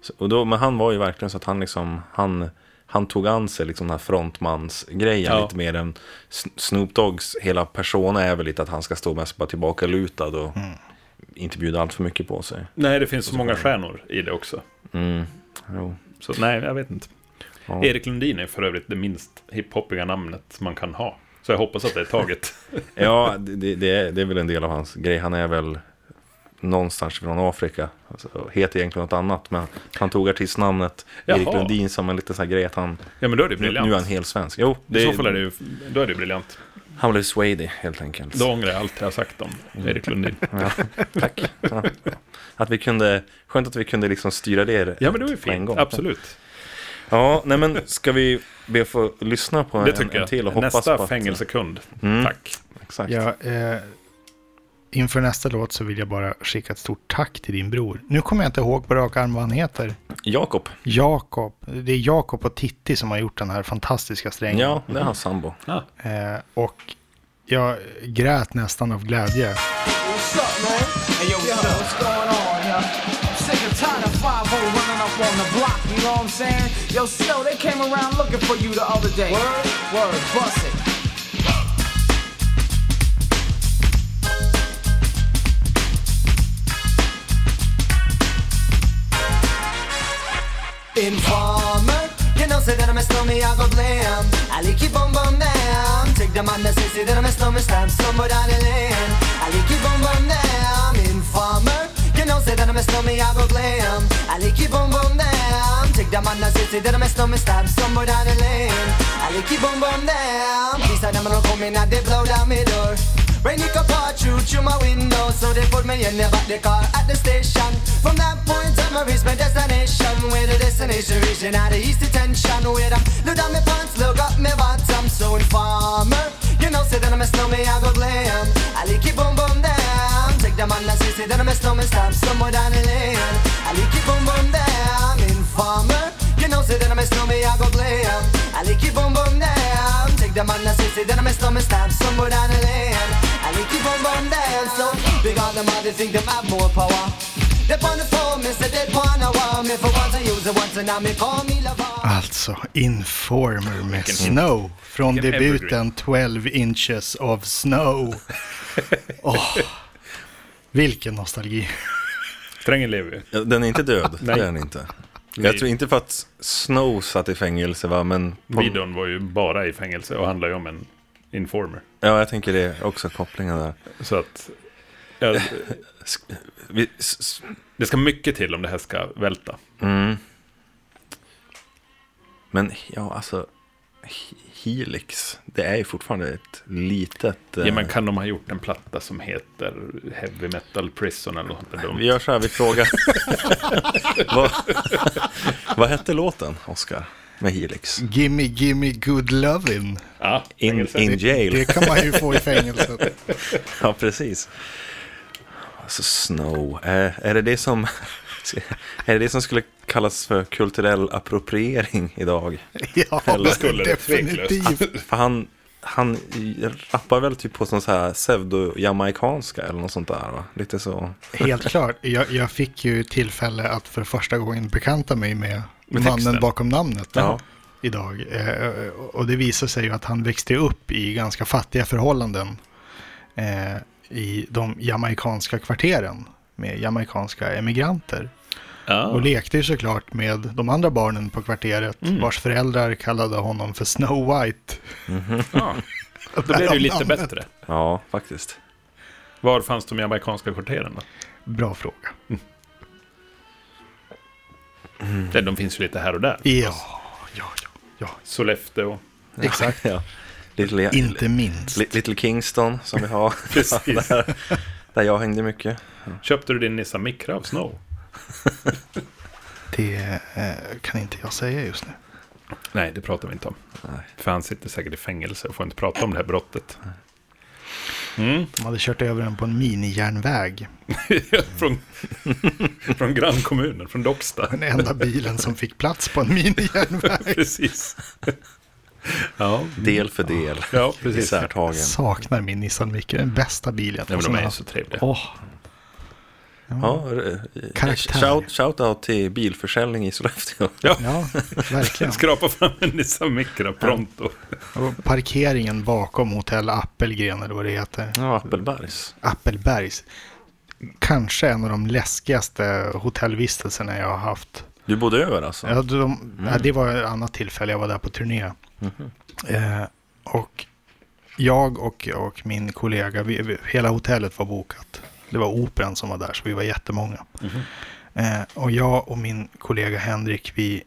[SPEAKER 3] Så, och då, men han var ju verkligen så att han liksom, han, han tog an sig liksom den här frontmansgrejen
[SPEAKER 1] Ja.
[SPEAKER 3] lite mer än Sn- Snoop Doggs hela persona är väl lite att han ska stå mest bara tillbaka lutad och inte bjuda allt för mycket på sig.
[SPEAKER 1] Nej, det finns så många stjärnor i det också.
[SPEAKER 3] Jo.
[SPEAKER 1] Så nej, jag vet inte.
[SPEAKER 3] Ja.
[SPEAKER 1] Erik Lundin är för övrigt det minst hiphopiga namnet man kan ha. Så jag hoppas att det är taget.
[SPEAKER 3] Ja, det, det- det, är, det är väl en del av hans grej. Han är väl någonstans från Afrika. Alltså, heter egentligen något annat, men han tog artistnamnet
[SPEAKER 1] Jaha.
[SPEAKER 3] Erik Lundin som en liten sån här grej att han...
[SPEAKER 1] Ja, men då är det
[SPEAKER 3] Nu, nu är han
[SPEAKER 1] briljant.
[SPEAKER 3] helt svensk. Jo,
[SPEAKER 1] I
[SPEAKER 3] det,
[SPEAKER 1] så fall är det ju, då är det briljant.
[SPEAKER 3] han blev Swady helt enkelt.
[SPEAKER 1] Då ångrar jag allt jag har sagt om Erik Lundin.
[SPEAKER 3] Ja, tack. Ja. Att vi kunde, skönt att vi kunde liksom styra det
[SPEAKER 1] Ja, men det var ju
[SPEAKER 3] på en
[SPEAKER 1] fint.
[SPEAKER 3] gång.
[SPEAKER 1] Absolut.
[SPEAKER 3] Ja, nej men ska vi be att få lyssna på
[SPEAKER 1] Det
[SPEAKER 3] en,
[SPEAKER 1] tycker
[SPEAKER 3] en till och
[SPEAKER 1] jag.
[SPEAKER 3] hoppas på
[SPEAKER 1] Nästa
[SPEAKER 3] att,
[SPEAKER 1] fängelsekund. Tack.
[SPEAKER 3] Exakt.
[SPEAKER 2] Ja, eh, inför nästa låt så vill jag bara skicka ett stort tack till din bror. Nu kommer jag inte ihåg på rak arm vad han heter.
[SPEAKER 3] Jakob.
[SPEAKER 2] Jakob. Det är Jakob och Titti som har gjort den här fantastiska strängen.
[SPEAKER 3] Ja, det är hans sambo.
[SPEAKER 2] Eh, och jag grät nästan av glädje.
[SPEAKER 6] What's up, man? Hey, yo, what's up? What's going on, yo? I'm sick and tired of 5 running up on the block, you know what I'm saying? Yo, Snow, they came around looking for you the other day. Word? Word, bust it.
[SPEAKER 8] Informer, you know, say that I'm a stormy, I go blam. I like you boom boom down. Take the man that says say that I'm a stormy, slam somewhere down the lane. I like you boom boom down. Informer, you know, say that I'm a stormy, I go blam. I like you boom boom down. Take the man that says say that I'm a stormy, slam somewhere down the lane. I like you boom boom down. Please, I'm not coming out, they blow down my door. Rain it could pour through through my window, so they put me in the back the car at the station. From that point on, I reached my destination. Where the destination region out of east detention. Where I'm look down my pants, look up my bottom. So informer, you know, say that I'm a snowman, I go glam. I like it boom boom down. Take them on the say, say that I'm a snowman, stop somewhere down the lane. I like it boom boom down. Informer, you know, say that I'm a snowman, I go glam. I like it boom boom down. Take them on the say, say that I'm a snowman, stop somewhere down the lane. I like it boom boom down. So big on them, all they think them have more power. They on the phone, me say they wanna want me for once. I use it once, and now me call me lover.
[SPEAKER 2] Alltså, Informer med Snow. Från
[SPEAKER 1] vilken
[SPEAKER 2] debuten 12 inches of snow. Åh, vilken nostalgi.
[SPEAKER 1] Strängen lever ju.
[SPEAKER 3] Ja, Den är inte död, det
[SPEAKER 1] Nej.
[SPEAKER 3] är den inte. Jag tror inte för att Snow satt i fängelse va, men...
[SPEAKER 1] Videon var ju bara i fängelse och handlar ju om en informer.
[SPEAKER 3] Ja, jag tänker det också, kopplingen där.
[SPEAKER 1] Så att... Ja,
[SPEAKER 3] Sk- vi- s- s-
[SPEAKER 1] det ska mycket till om det här ska välta.
[SPEAKER 3] Men ja, alltså... He- Helix, det är ju fortfarande ett litet... eh,
[SPEAKER 1] Ja, men kan de ha gjort en platta som heter Heavy Metal Prison eller något? där
[SPEAKER 3] Vi
[SPEAKER 1] De,
[SPEAKER 3] gör så här, vi frågar... vad, vad hette låten, Oscar? Med Helix?
[SPEAKER 2] Gimme, gimme good lovin'.
[SPEAKER 1] ja,
[SPEAKER 3] In,
[SPEAKER 1] fängelse.
[SPEAKER 3] in jail.
[SPEAKER 2] Det kan man ju få i fängelset.
[SPEAKER 3] Ja, precis. Alltså Snow, eh, är det det som... Är det det som skulle kallas för kulturell appropriering idag?
[SPEAKER 2] Ja,
[SPEAKER 3] Eller
[SPEAKER 1] skulle det
[SPEAKER 2] definitivt.
[SPEAKER 3] För han, han rappar väl typ på sån så här pseudo-jamaicanska eller något sånt där va? Lite så.
[SPEAKER 2] Helt klart. Jag, jag fick ju tillfälle att för första gången bekanta mig med, mannen
[SPEAKER 1] texten.
[SPEAKER 2] bakom namnet
[SPEAKER 3] Ja.
[SPEAKER 2] idag. Eh, och det visar sig ju att han växte upp i ganska fattiga förhållanden eh, i de jamaikanska kvarteren med jamaikanska emigranter. Och
[SPEAKER 1] Ja. Mm.
[SPEAKER 2] lekte ju såklart med de andra barnen på kvarteret vars föräldrar kallade honom för Snow White.
[SPEAKER 1] Ja. Då blev det ju lite
[SPEAKER 2] Namnet.
[SPEAKER 1] bättre.
[SPEAKER 3] Ja, faktiskt.
[SPEAKER 1] Var fanns de jamaicanska kvarteren då?
[SPEAKER 2] Bra fråga.
[SPEAKER 1] Det- De finns ju lite här och där.
[SPEAKER 2] Ja, ja, ja. ja.
[SPEAKER 1] Sollefteå.
[SPEAKER 2] Exakt.
[SPEAKER 3] Ja. Little,
[SPEAKER 2] Inte minst.
[SPEAKER 3] Li- Little Kingston som vi har.
[SPEAKER 1] Precis.
[SPEAKER 3] där, där jag hängde mycket.
[SPEAKER 1] Köpte du din Nissan Micra av Snow?
[SPEAKER 2] Det eh, kan inte jag säga just nu.
[SPEAKER 1] Nej, det pratar vi inte om.
[SPEAKER 3] Nej.
[SPEAKER 1] För han sitter säkert i fängelse och får inte prata om det här brottet.
[SPEAKER 2] De hade kört över den på en minijärnväg.
[SPEAKER 1] från, från grannkommunen, från Docksta.
[SPEAKER 2] Den enda bilen som fick plats på en minijärnväg.
[SPEAKER 1] Precis. Ja,
[SPEAKER 3] Del för del.
[SPEAKER 1] ja precis. Ja,
[SPEAKER 3] Isärtagen.
[SPEAKER 2] Saknar min Nissan Micra, den bästa bilen.
[SPEAKER 1] men de
[SPEAKER 2] Sådana-
[SPEAKER 1] är ju så trevliga.
[SPEAKER 2] Åh,
[SPEAKER 3] Ja, eh,
[SPEAKER 2] Karaktär.
[SPEAKER 3] shout, shout out till bilförsäljning i Sollefteå.
[SPEAKER 2] ja, verkligen.
[SPEAKER 1] Skrapa fram en Nissan Micra pronto.
[SPEAKER 2] Och parkeringen bakom hotell Appelgren eller vad det heter.
[SPEAKER 3] Ja, Appelbergs.
[SPEAKER 2] Appelbergs. Kanske en av de läskigaste hotellvistelserna jag har haft.
[SPEAKER 3] Du bodde över alltså?
[SPEAKER 2] Ja, de, nej, det var ett annat tillfälle, jag var där på turné. Eh, och jag och, och min kollega, vi, vi, hela hotellet var bokat. Det var operan som var där, så vi var jättemånga. Eh, och jag och min kollega Henrik, vi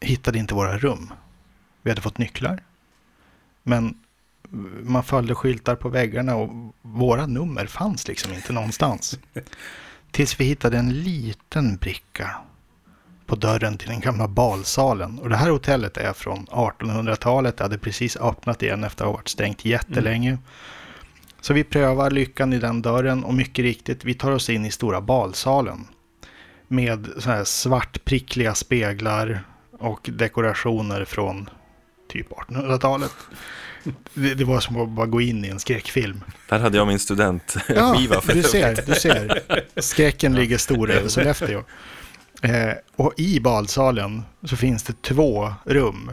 [SPEAKER 2] hittade inte våra rum. Vi hade fått nycklar. Men man följde skyltar på väggarna och våra nummer fanns liksom inte någonstans. Tills vi hittade en liten bricka på dörren till den gamla balsalen. Och det här hotellet är från 1800-talet. Det hade precis öppnat igen efter att ha varit stängt jättelänge. Så vi prövar lyckan i den dörren och mycket riktigt, vi tar oss in i stora balsalen. Med så här svartprickliga speglar och dekorationer från typ 1800-talet. Det, det var som att bara gå in i en skräckfilm.
[SPEAKER 3] Där hade jag min studentskiva.
[SPEAKER 2] Ja,
[SPEAKER 3] för
[SPEAKER 2] du ser, du ser. Skräcken ligger stor över Sollefteå. Eh, och i balsalen så finns det två rum.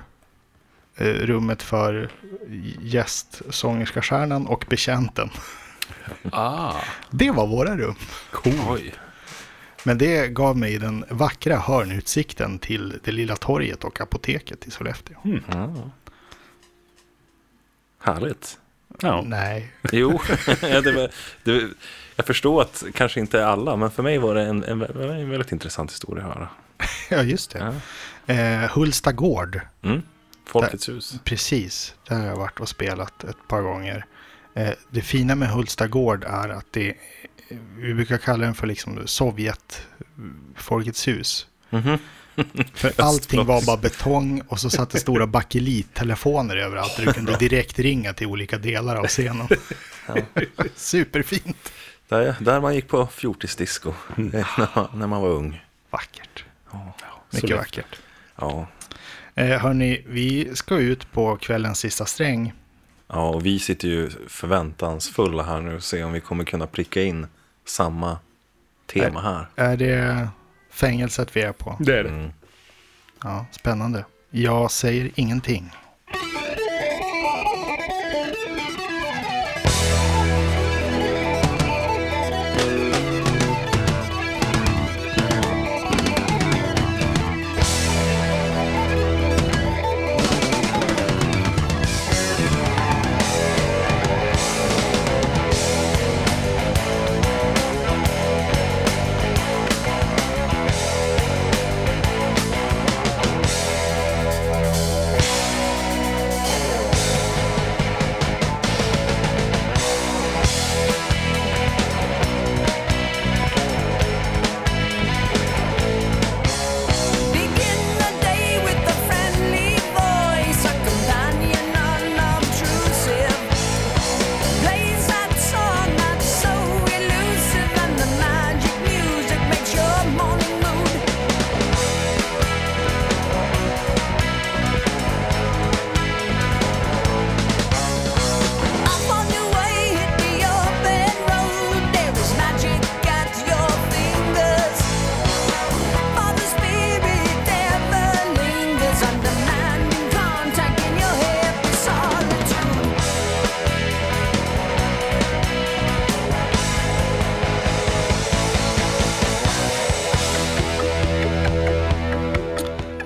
[SPEAKER 2] Eh, rummet för gästsångerskastjärnan och betjänten.
[SPEAKER 1] Ah,
[SPEAKER 2] Det var våra rum.
[SPEAKER 1] cool.
[SPEAKER 2] Men det gav mig den vackra hörnutsikten till det lilla torget och apoteket i Sollefteå.
[SPEAKER 3] Härligt.
[SPEAKER 1] Ja.
[SPEAKER 2] Nej,
[SPEAKER 3] Jo, ja, det var, det, var- jag förstår att kanske inte alla, men för mig var det en, en, en väldigt intressant historia att höra.
[SPEAKER 2] ja just det. Eh, Hulsta gård.
[SPEAKER 3] Mm. Folkets hus.
[SPEAKER 2] Precis, där har jag varit och spelat ett par gånger. Eh, Det fina med Hulstagård är att det, eh, vi brukar kalla den för liksom Sovjet folkets hus. För allting var bara betong och så satt det stora bakelittelefoner överallt. och Du kunde direkt ringa till olika delar av scenen. Superfint.
[SPEAKER 3] Där, där man gick på fjortisdisco när, man- när man var ung.
[SPEAKER 2] Vackert.
[SPEAKER 1] så
[SPEAKER 2] Mycket
[SPEAKER 1] läckert.
[SPEAKER 2] vackert.
[SPEAKER 3] Ja.
[SPEAKER 2] Eh, hörni, vi ska ut på kvällens sista sträng.
[SPEAKER 3] ja, och vi sitter ju förväntansfulla här nu och ser om vi kommer kunna pricka in samma tema här.
[SPEAKER 2] Är det fängelset vi är på?
[SPEAKER 1] Det är
[SPEAKER 3] Mm.
[SPEAKER 1] det.
[SPEAKER 2] Ja, spännande. Jag säger ingenting.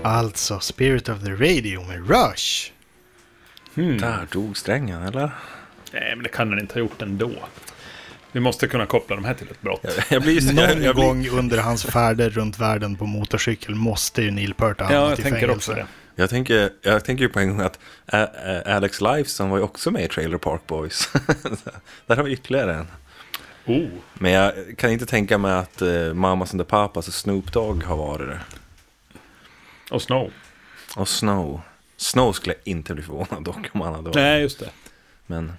[SPEAKER 2] Alltså Spirit of the Radio med Rush.
[SPEAKER 3] Där dog strängen, eller?
[SPEAKER 1] Nej, men det kan den inte ha gjort ändå. Vi måste kunna koppla de här till ett brott.
[SPEAKER 3] Jag blir så... jag,
[SPEAKER 2] Någon
[SPEAKER 3] jag blir,
[SPEAKER 2] gång under hans färder runt världen på motorcykel måste ju Neil Peart ha hamnat
[SPEAKER 1] Ja, jag
[SPEAKER 2] i
[SPEAKER 1] tänker
[SPEAKER 2] fängelse.
[SPEAKER 1] också det.
[SPEAKER 3] jag, tänker, jag tänker ju på en gång att Ä- Ä- Alex Lifeson var ju också med i Trailer Park Boys. Där har vi ytterligare en.
[SPEAKER 1] Oh,
[SPEAKER 3] Men jag kan inte tänka mig att eh, Mamas and the Papas och Snoop Dogg har varit det.
[SPEAKER 1] och Snow.
[SPEAKER 3] Och Snow. Snow skulle jag inte bli förvånad dock om han hade varit.
[SPEAKER 1] Nej, just det.
[SPEAKER 3] Men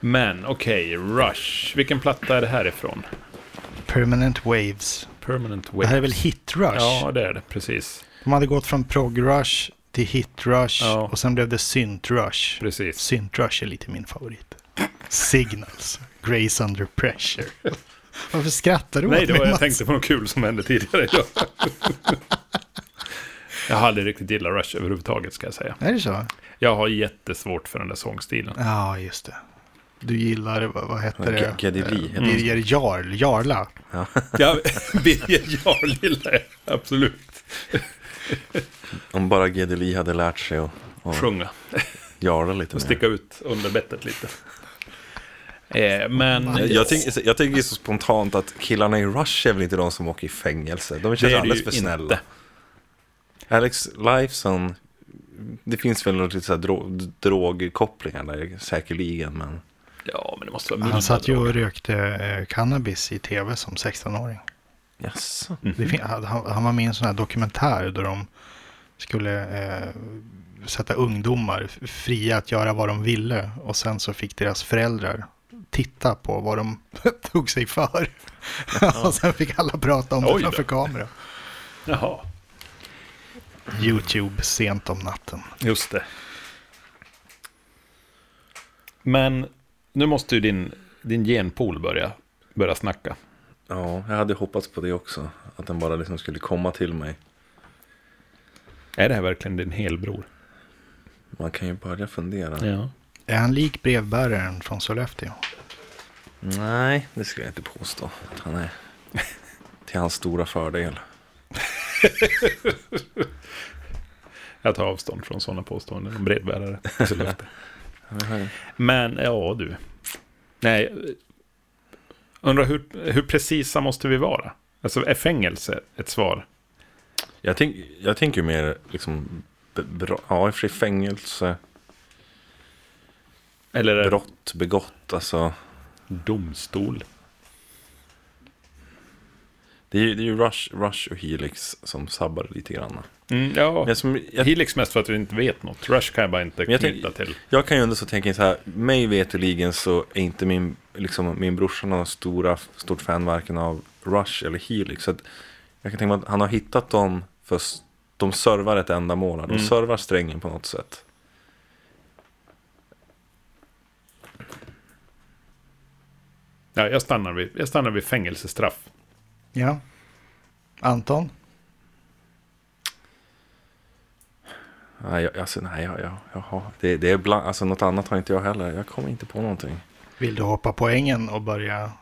[SPEAKER 1] Men okej, Rush. Vilken platta är det här ifrån?
[SPEAKER 2] Permanent Waves.
[SPEAKER 1] Permanent
[SPEAKER 2] Det
[SPEAKER 1] Waves.
[SPEAKER 2] här är väl Hit Rush?
[SPEAKER 1] Ja, det är det. Precis.
[SPEAKER 2] De hade gått från prog rush till hit rush
[SPEAKER 1] Ja.
[SPEAKER 2] och sen blev det synt rush.
[SPEAKER 1] Precis.
[SPEAKER 2] Synt rush är lite min favorit. Signals, Grace Under Pressure. Varför skrattar du
[SPEAKER 1] Nej,
[SPEAKER 2] åt
[SPEAKER 1] då,
[SPEAKER 2] mig,
[SPEAKER 1] jag
[SPEAKER 2] Mats?
[SPEAKER 1] tänkte på något kul som hände tidigare. idag. jag har aldrig riktigt gillat Rush överhuvudtaget, ska jag säga.
[SPEAKER 2] Är det så?
[SPEAKER 1] Jag har jättesvårt för den där sångstilen.
[SPEAKER 2] Ja, just det. Du gillar, vad, vad hette det?
[SPEAKER 3] Gedeli.
[SPEAKER 2] Eh, Birger Jarl, Jarla.
[SPEAKER 1] Ja, Birger Jarl gillar jag absolut.
[SPEAKER 3] om bara Gedeli hade lärt sig att att
[SPEAKER 1] Sjunga.
[SPEAKER 3] jarla lite mer.
[SPEAKER 1] Sticka ut under bettet lite. Eh, men...
[SPEAKER 3] Jag, jag, tänker, jag tänker så spontant att killarna i Rush är väl inte de som åker i fängelse. De
[SPEAKER 1] det
[SPEAKER 3] känns
[SPEAKER 1] är det
[SPEAKER 3] alldeles
[SPEAKER 1] ju
[SPEAKER 3] för
[SPEAKER 1] inte.
[SPEAKER 3] snälla. Alex Lifeson, det finns väl något lite så här dro- drogkopplingar där säkerligen. Men
[SPEAKER 1] Ja, men det måste vara milda
[SPEAKER 2] Han satt ju
[SPEAKER 1] droger.
[SPEAKER 2] och rökte eh, cannabis i tv som 16-åring.
[SPEAKER 3] yes.
[SPEAKER 1] Mhm.
[SPEAKER 2] Det fin- han, han var med i en sån här dokumentär där de skulle eh, sätta ungdomar f- fria att göra vad de ville. Och sen så fick deras föräldrar titta på vad de tog sig för. och sen fick alla prata om
[SPEAKER 1] Oj
[SPEAKER 2] det
[SPEAKER 1] då.
[SPEAKER 2] framför kamera.
[SPEAKER 1] Jaha,
[SPEAKER 2] YouTube sent om natten.
[SPEAKER 1] just det. Men nu måste ju din, din genpool börja, börja snacka.
[SPEAKER 3] Ja, jag hade hoppats på det också. Att den bara liksom skulle komma till mig.
[SPEAKER 1] Är det här verkligen din helbror?
[SPEAKER 3] Man kan ju börja fundera.
[SPEAKER 1] Ja.
[SPEAKER 2] Är han lik brevbäraren från Sollefteå?
[SPEAKER 3] Nej, det skulle jag inte påstå att han är. Till hans stora fördel.
[SPEAKER 1] Jag tar avstånd från sådana påståenden om brevbärare. i Sollefteå. Men ja, du. Nej. Undrar hur, hur precisa måste vi vara? Alltså är fängelse ett svar?
[SPEAKER 3] Jag, tänk, jag tänker ju mer liksom, b- bra, ja i och för sig fängelse,
[SPEAKER 1] Eller är det
[SPEAKER 3] brott begått. Alltså,
[SPEAKER 1] domstol?
[SPEAKER 3] det, är, ju- det är ju Rush, Rush och Helix som sabbar lite grann.
[SPEAKER 1] Mm, ja,
[SPEAKER 3] Men som, jag,
[SPEAKER 1] Helix mest för att vi inte vet något. Rush kan jag bara inte
[SPEAKER 3] jag
[SPEAKER 1] knyta
[SPEAKER 3] tänk-
[SPEAKER 1] till.
[SPEAKER 3] jag kan ju ändå så tänka så här, mig veterligen så är inte min, liksom, min brorsa någon stora, stort fan varken av Rush eller Helix. Så att jag kan tänka mig att han har hittat dem, för s- de servar ett ändamål, här. de servar strängen på något sätt.
[SPEAKER 1] Ja, jag, stannar vid, jag stannar vid fängelsestraff.
[SPEAKER 2] Ja. Anton?
[SPEAKER 3] Nej, jag, alltså, nej, jag, jag, jaha. Det, det är bland, alltså, något annat har inte jag heller. Jag kommer inte på någonting.
[SPEAKER 2] Vill du hoppa på ängen och börja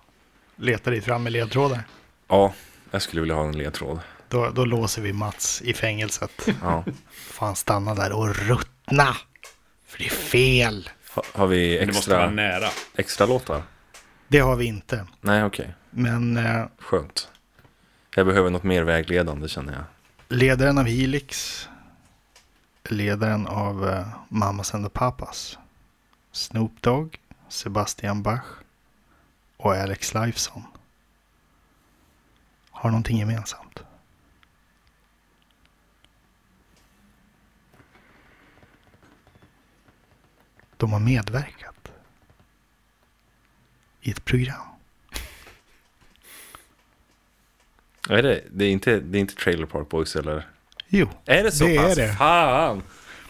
[SPEAKER 2] leta dig fram med ledtrådar?
[SPEAKER 3] Ja, jag skulle vilja ha en ledtråd.
[SPEAKER 2] Då, då låser vi Mats i fängelset.
[SPEAKER 3] Ja.
[SPEAKER 2] Får han stanna där och ruttna. För det är fel.
[SPEAKER 3] Ha, har vi
[SPEAKER 1] Men det måste vara
[SPEAKER 3] extra,
[SPEAKER 1] nära.
[SPEAKER 3] extra låtar?
[SPEAKER 2] Det har vi inte.
[SPEAKER 3] Nej, okej.
[SPEAKER 2] Men eh,
[SPEAKER 3] Skönt. Jag behöver något mer vägledande känner jag.
[SPEAKER 2] ledaren av Helix, ledaren av eh, Mamas and the Papas, Snoop Dogg, Sebastian Bach och Alex Lifeson har någonting gemensamt. De har medverkat i ett program.
[SPEAKER 3] Är det, det, är inte, det är inte Trailer Park Boys eller?
[SPEAKER 2] Jo,
[SPEAKER 3] Är det så
[SPEAKER 2] det
[SPEAKER 3] pass?
[SPEAKER 2] är det.
[SPEAKER 3] Fan!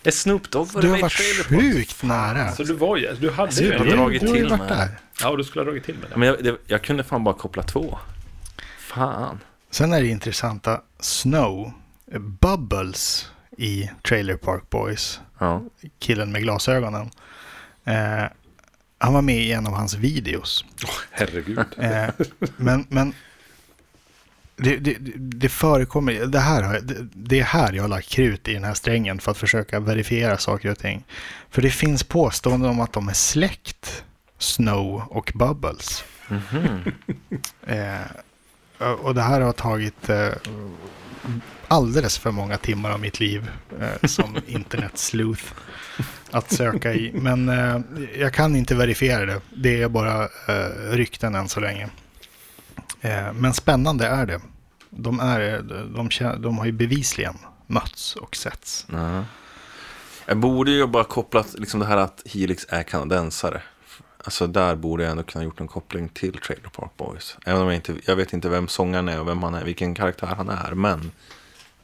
[SPEAKER 3] Är Snoop Dogg
[SPEAKER 2] Du
[SPEAKER 3] varit
[SPEAKER 2] har
[SPEAKER 3] med i
[SPEAKER 2] varit
[SPEAKER 3] Trailer Park?
[SPEAKER 2] sjukt nära.
[SPEAKER 1] Så du var ju, du hade ju
[SPEAKER 3] Super.
[SPEAKER 1] en,
[SPEAKER 3] dragit
[SPEAKER 2] Du har ju
[SPEAKER 3] till
[SPEAKER 2] varit
[SPEAKER 3] med.
[SPEAKER 2] där.
[SPEAKER 1] Ja, du skulle ha dragit till med det.
[SPEAKER 3] Men jag, det, jag kunde fan bara koppla två. Fan.
[SPEAKER 2] Sen är det intressanta Snow, eh, Bubbles i Trailer Park Boys,
[SPEAKER 3] Ja.
[SPEAKER 2] killen med glasögonen. Eh, han var med i en av hans videos.
[SPEAKER 1] Herregud.
[SPEAKER 2] Eh, men, men Det, det, det förekommer, det här, har jag- det, det är här jag har lagt krut i den här strängen för att försöka verifiera saker och ting. För det finns påståenden om att de är släkt, Snow och Bubbles. eh, och det här har tagit eh, alldeles för många timmar av mitt liv eh, som internetsleuth att söka i. Men eh, jag kan inte verifiera det. Det är bara eh, rykten än så länge. Eh, men spännande är det. De, är, de, kä- de har ju bevisligen mötts och setts.
[SPEAKER 3] Ja. Jag borde ju bara kopplat liksom det här att Helix är kanadensare. Alltså där borde jag ändå kunna gjort en koppling till Trailer Park Boys. Även om jag inte, jag vet inte vem sångaren är och vem han är, vilken karaktär han är, men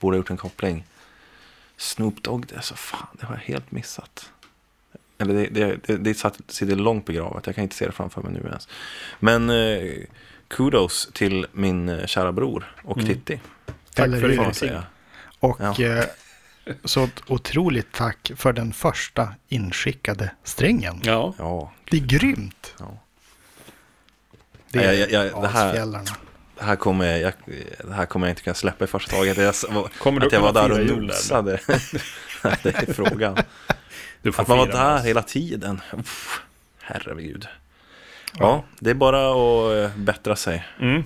[SPEAKER 3] borde ha gjort en koppling. Snoop Dogg, det är så fan, det har jag helt missat. Eller det, det, det, det satt, sitter långt begravet, jag kan inte se det framför mig nu ens. Men eh, kudos till min eh, kära bror och Titti.
[SPEAKER 1] Tack
[SPEAKER 2] Eller
[SPEAKER 1] för
[SPEAKER 2] hur?
[SPEAKER 1] det.
[SPEAKER 3] Får man säga.
[SPEAKER 2] Och
[SPEAKER 3] Ja.
[SPEAKER 2] eh, så ett otroligt tack för den första inskickade strängen.
[SPEAKER 1] Ja,
[SPEAKER 3] Ja,
[SPEAKER 2] Det är grymt.
[SPEAKER 3] Ja.
[SPEAKER 2] Det är
[SPEAKER 3] Ja, ja, ja, det här-
[SPEAKER 2] asfjällarna.
[SPEAKER 3] Det här kommer jag, det här kommer jag inte kunna släppa i första taget. Jag,
[SPEAKER 1] Kommer du
[SPEAKER 3] att jag var
[SPEAKER 1] kunna
[SPEAKER 3] där
[SPEAKER 1] fira
[SPEAKER 3] och
[SPEAKER 1] jul, eller?
[SPEAKER 3] nosade. Nej, det är frågan.
[SPEAKER 1] du får
[SPEAKER 3] Att man var
[SPEAKER 1] fira med
[SPEAKER 3] där
[SPEAKER 1] oss.
[SPEAKER 3] hela tiden. Uff, herregud. Ja, det är bara att eh, bättra sig.
[SPEAKER 1] Mm.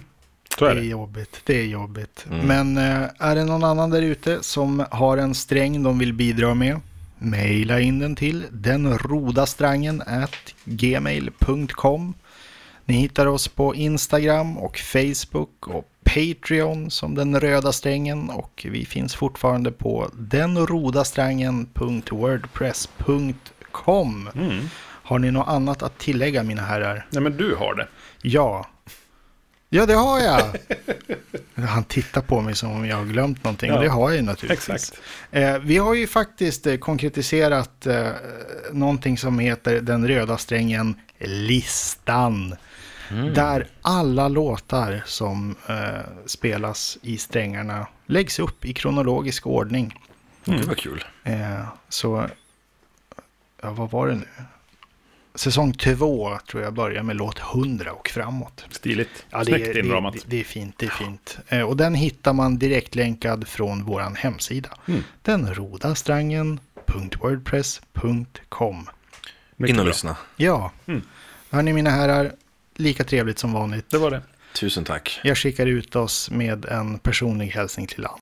[SPEAKER 1] Så är
[SPEAKER 2] Det är
[SPEAKER 1] det. Mm.
[SPEAKER 2] jobbigt, det är jobbigt. Men eh, är det någon annan där ute som har en sträng de vill bidra med? Maila in den till denrodastrangen at gmail.com. Ni hittar oss på Instagram och Facebook och Patreon som den röda strängen och vi finns fortfarande på denrodastrangen.wordpress.com.
[SPEAKER 1] Mm.
[SPEAKER 2] Har ni något annat att tillägga mina herrar?
[SPEAKER 1] Nej, men du har det.
[SPEAKER 2] Ja. Ja, det har jag. Han tittar på mig som om jag har glömt någonting.
[SPEAKER 1] Ja,
[SPEAKER 2] Och det har jag ju naturligtvis.
[SPEAKER 1] Exakt.
[SPEAKER 2] Eh, vi har ju faktiskt eh, konkretiserat eh, någonting som heter den röda strängen listan. Där alla låtar som eh, spelas i strängarna läggs upp i kronologisk ordning.
[SPEAKER 1] Mm.
[SPEAKER 3] Det var kul.
[SPEAKER 2] Eh, så, ja, vad var det nu? Säsong två tror jag börjar med låt 100 och framåt.
[SPEAKER 1] Stiligt.
[SPEAKER 2] Ja, det,
[SPEAKER 1] Snyggt
[SPEAKER 2] är, det,
[SPEAKER 1] inramat.
[SPEAKER 2] det- det är fint, det är fint. Eh, Och den hittar man direktlänkad från vår hemsida.
[SPEAKER 1] Mm.
[SPEAKER 2] Denrodastrangen.wordpress.com
[SPEAKER 1] Mycket
[SPEAKER 3] In och
[SPEAKER 1] bra.
[SPEAKER 3] lyssna.
[SPEAKER 2] Ja, hörni mina herrar, lika trevligt som vanligt.
[SPEAKER 1] Mm. Det var det.
[SPEAKER 3] Tusen tack.
[SPEAKER 2] Jag skickar ut oss med en personlig hälsning till Anton.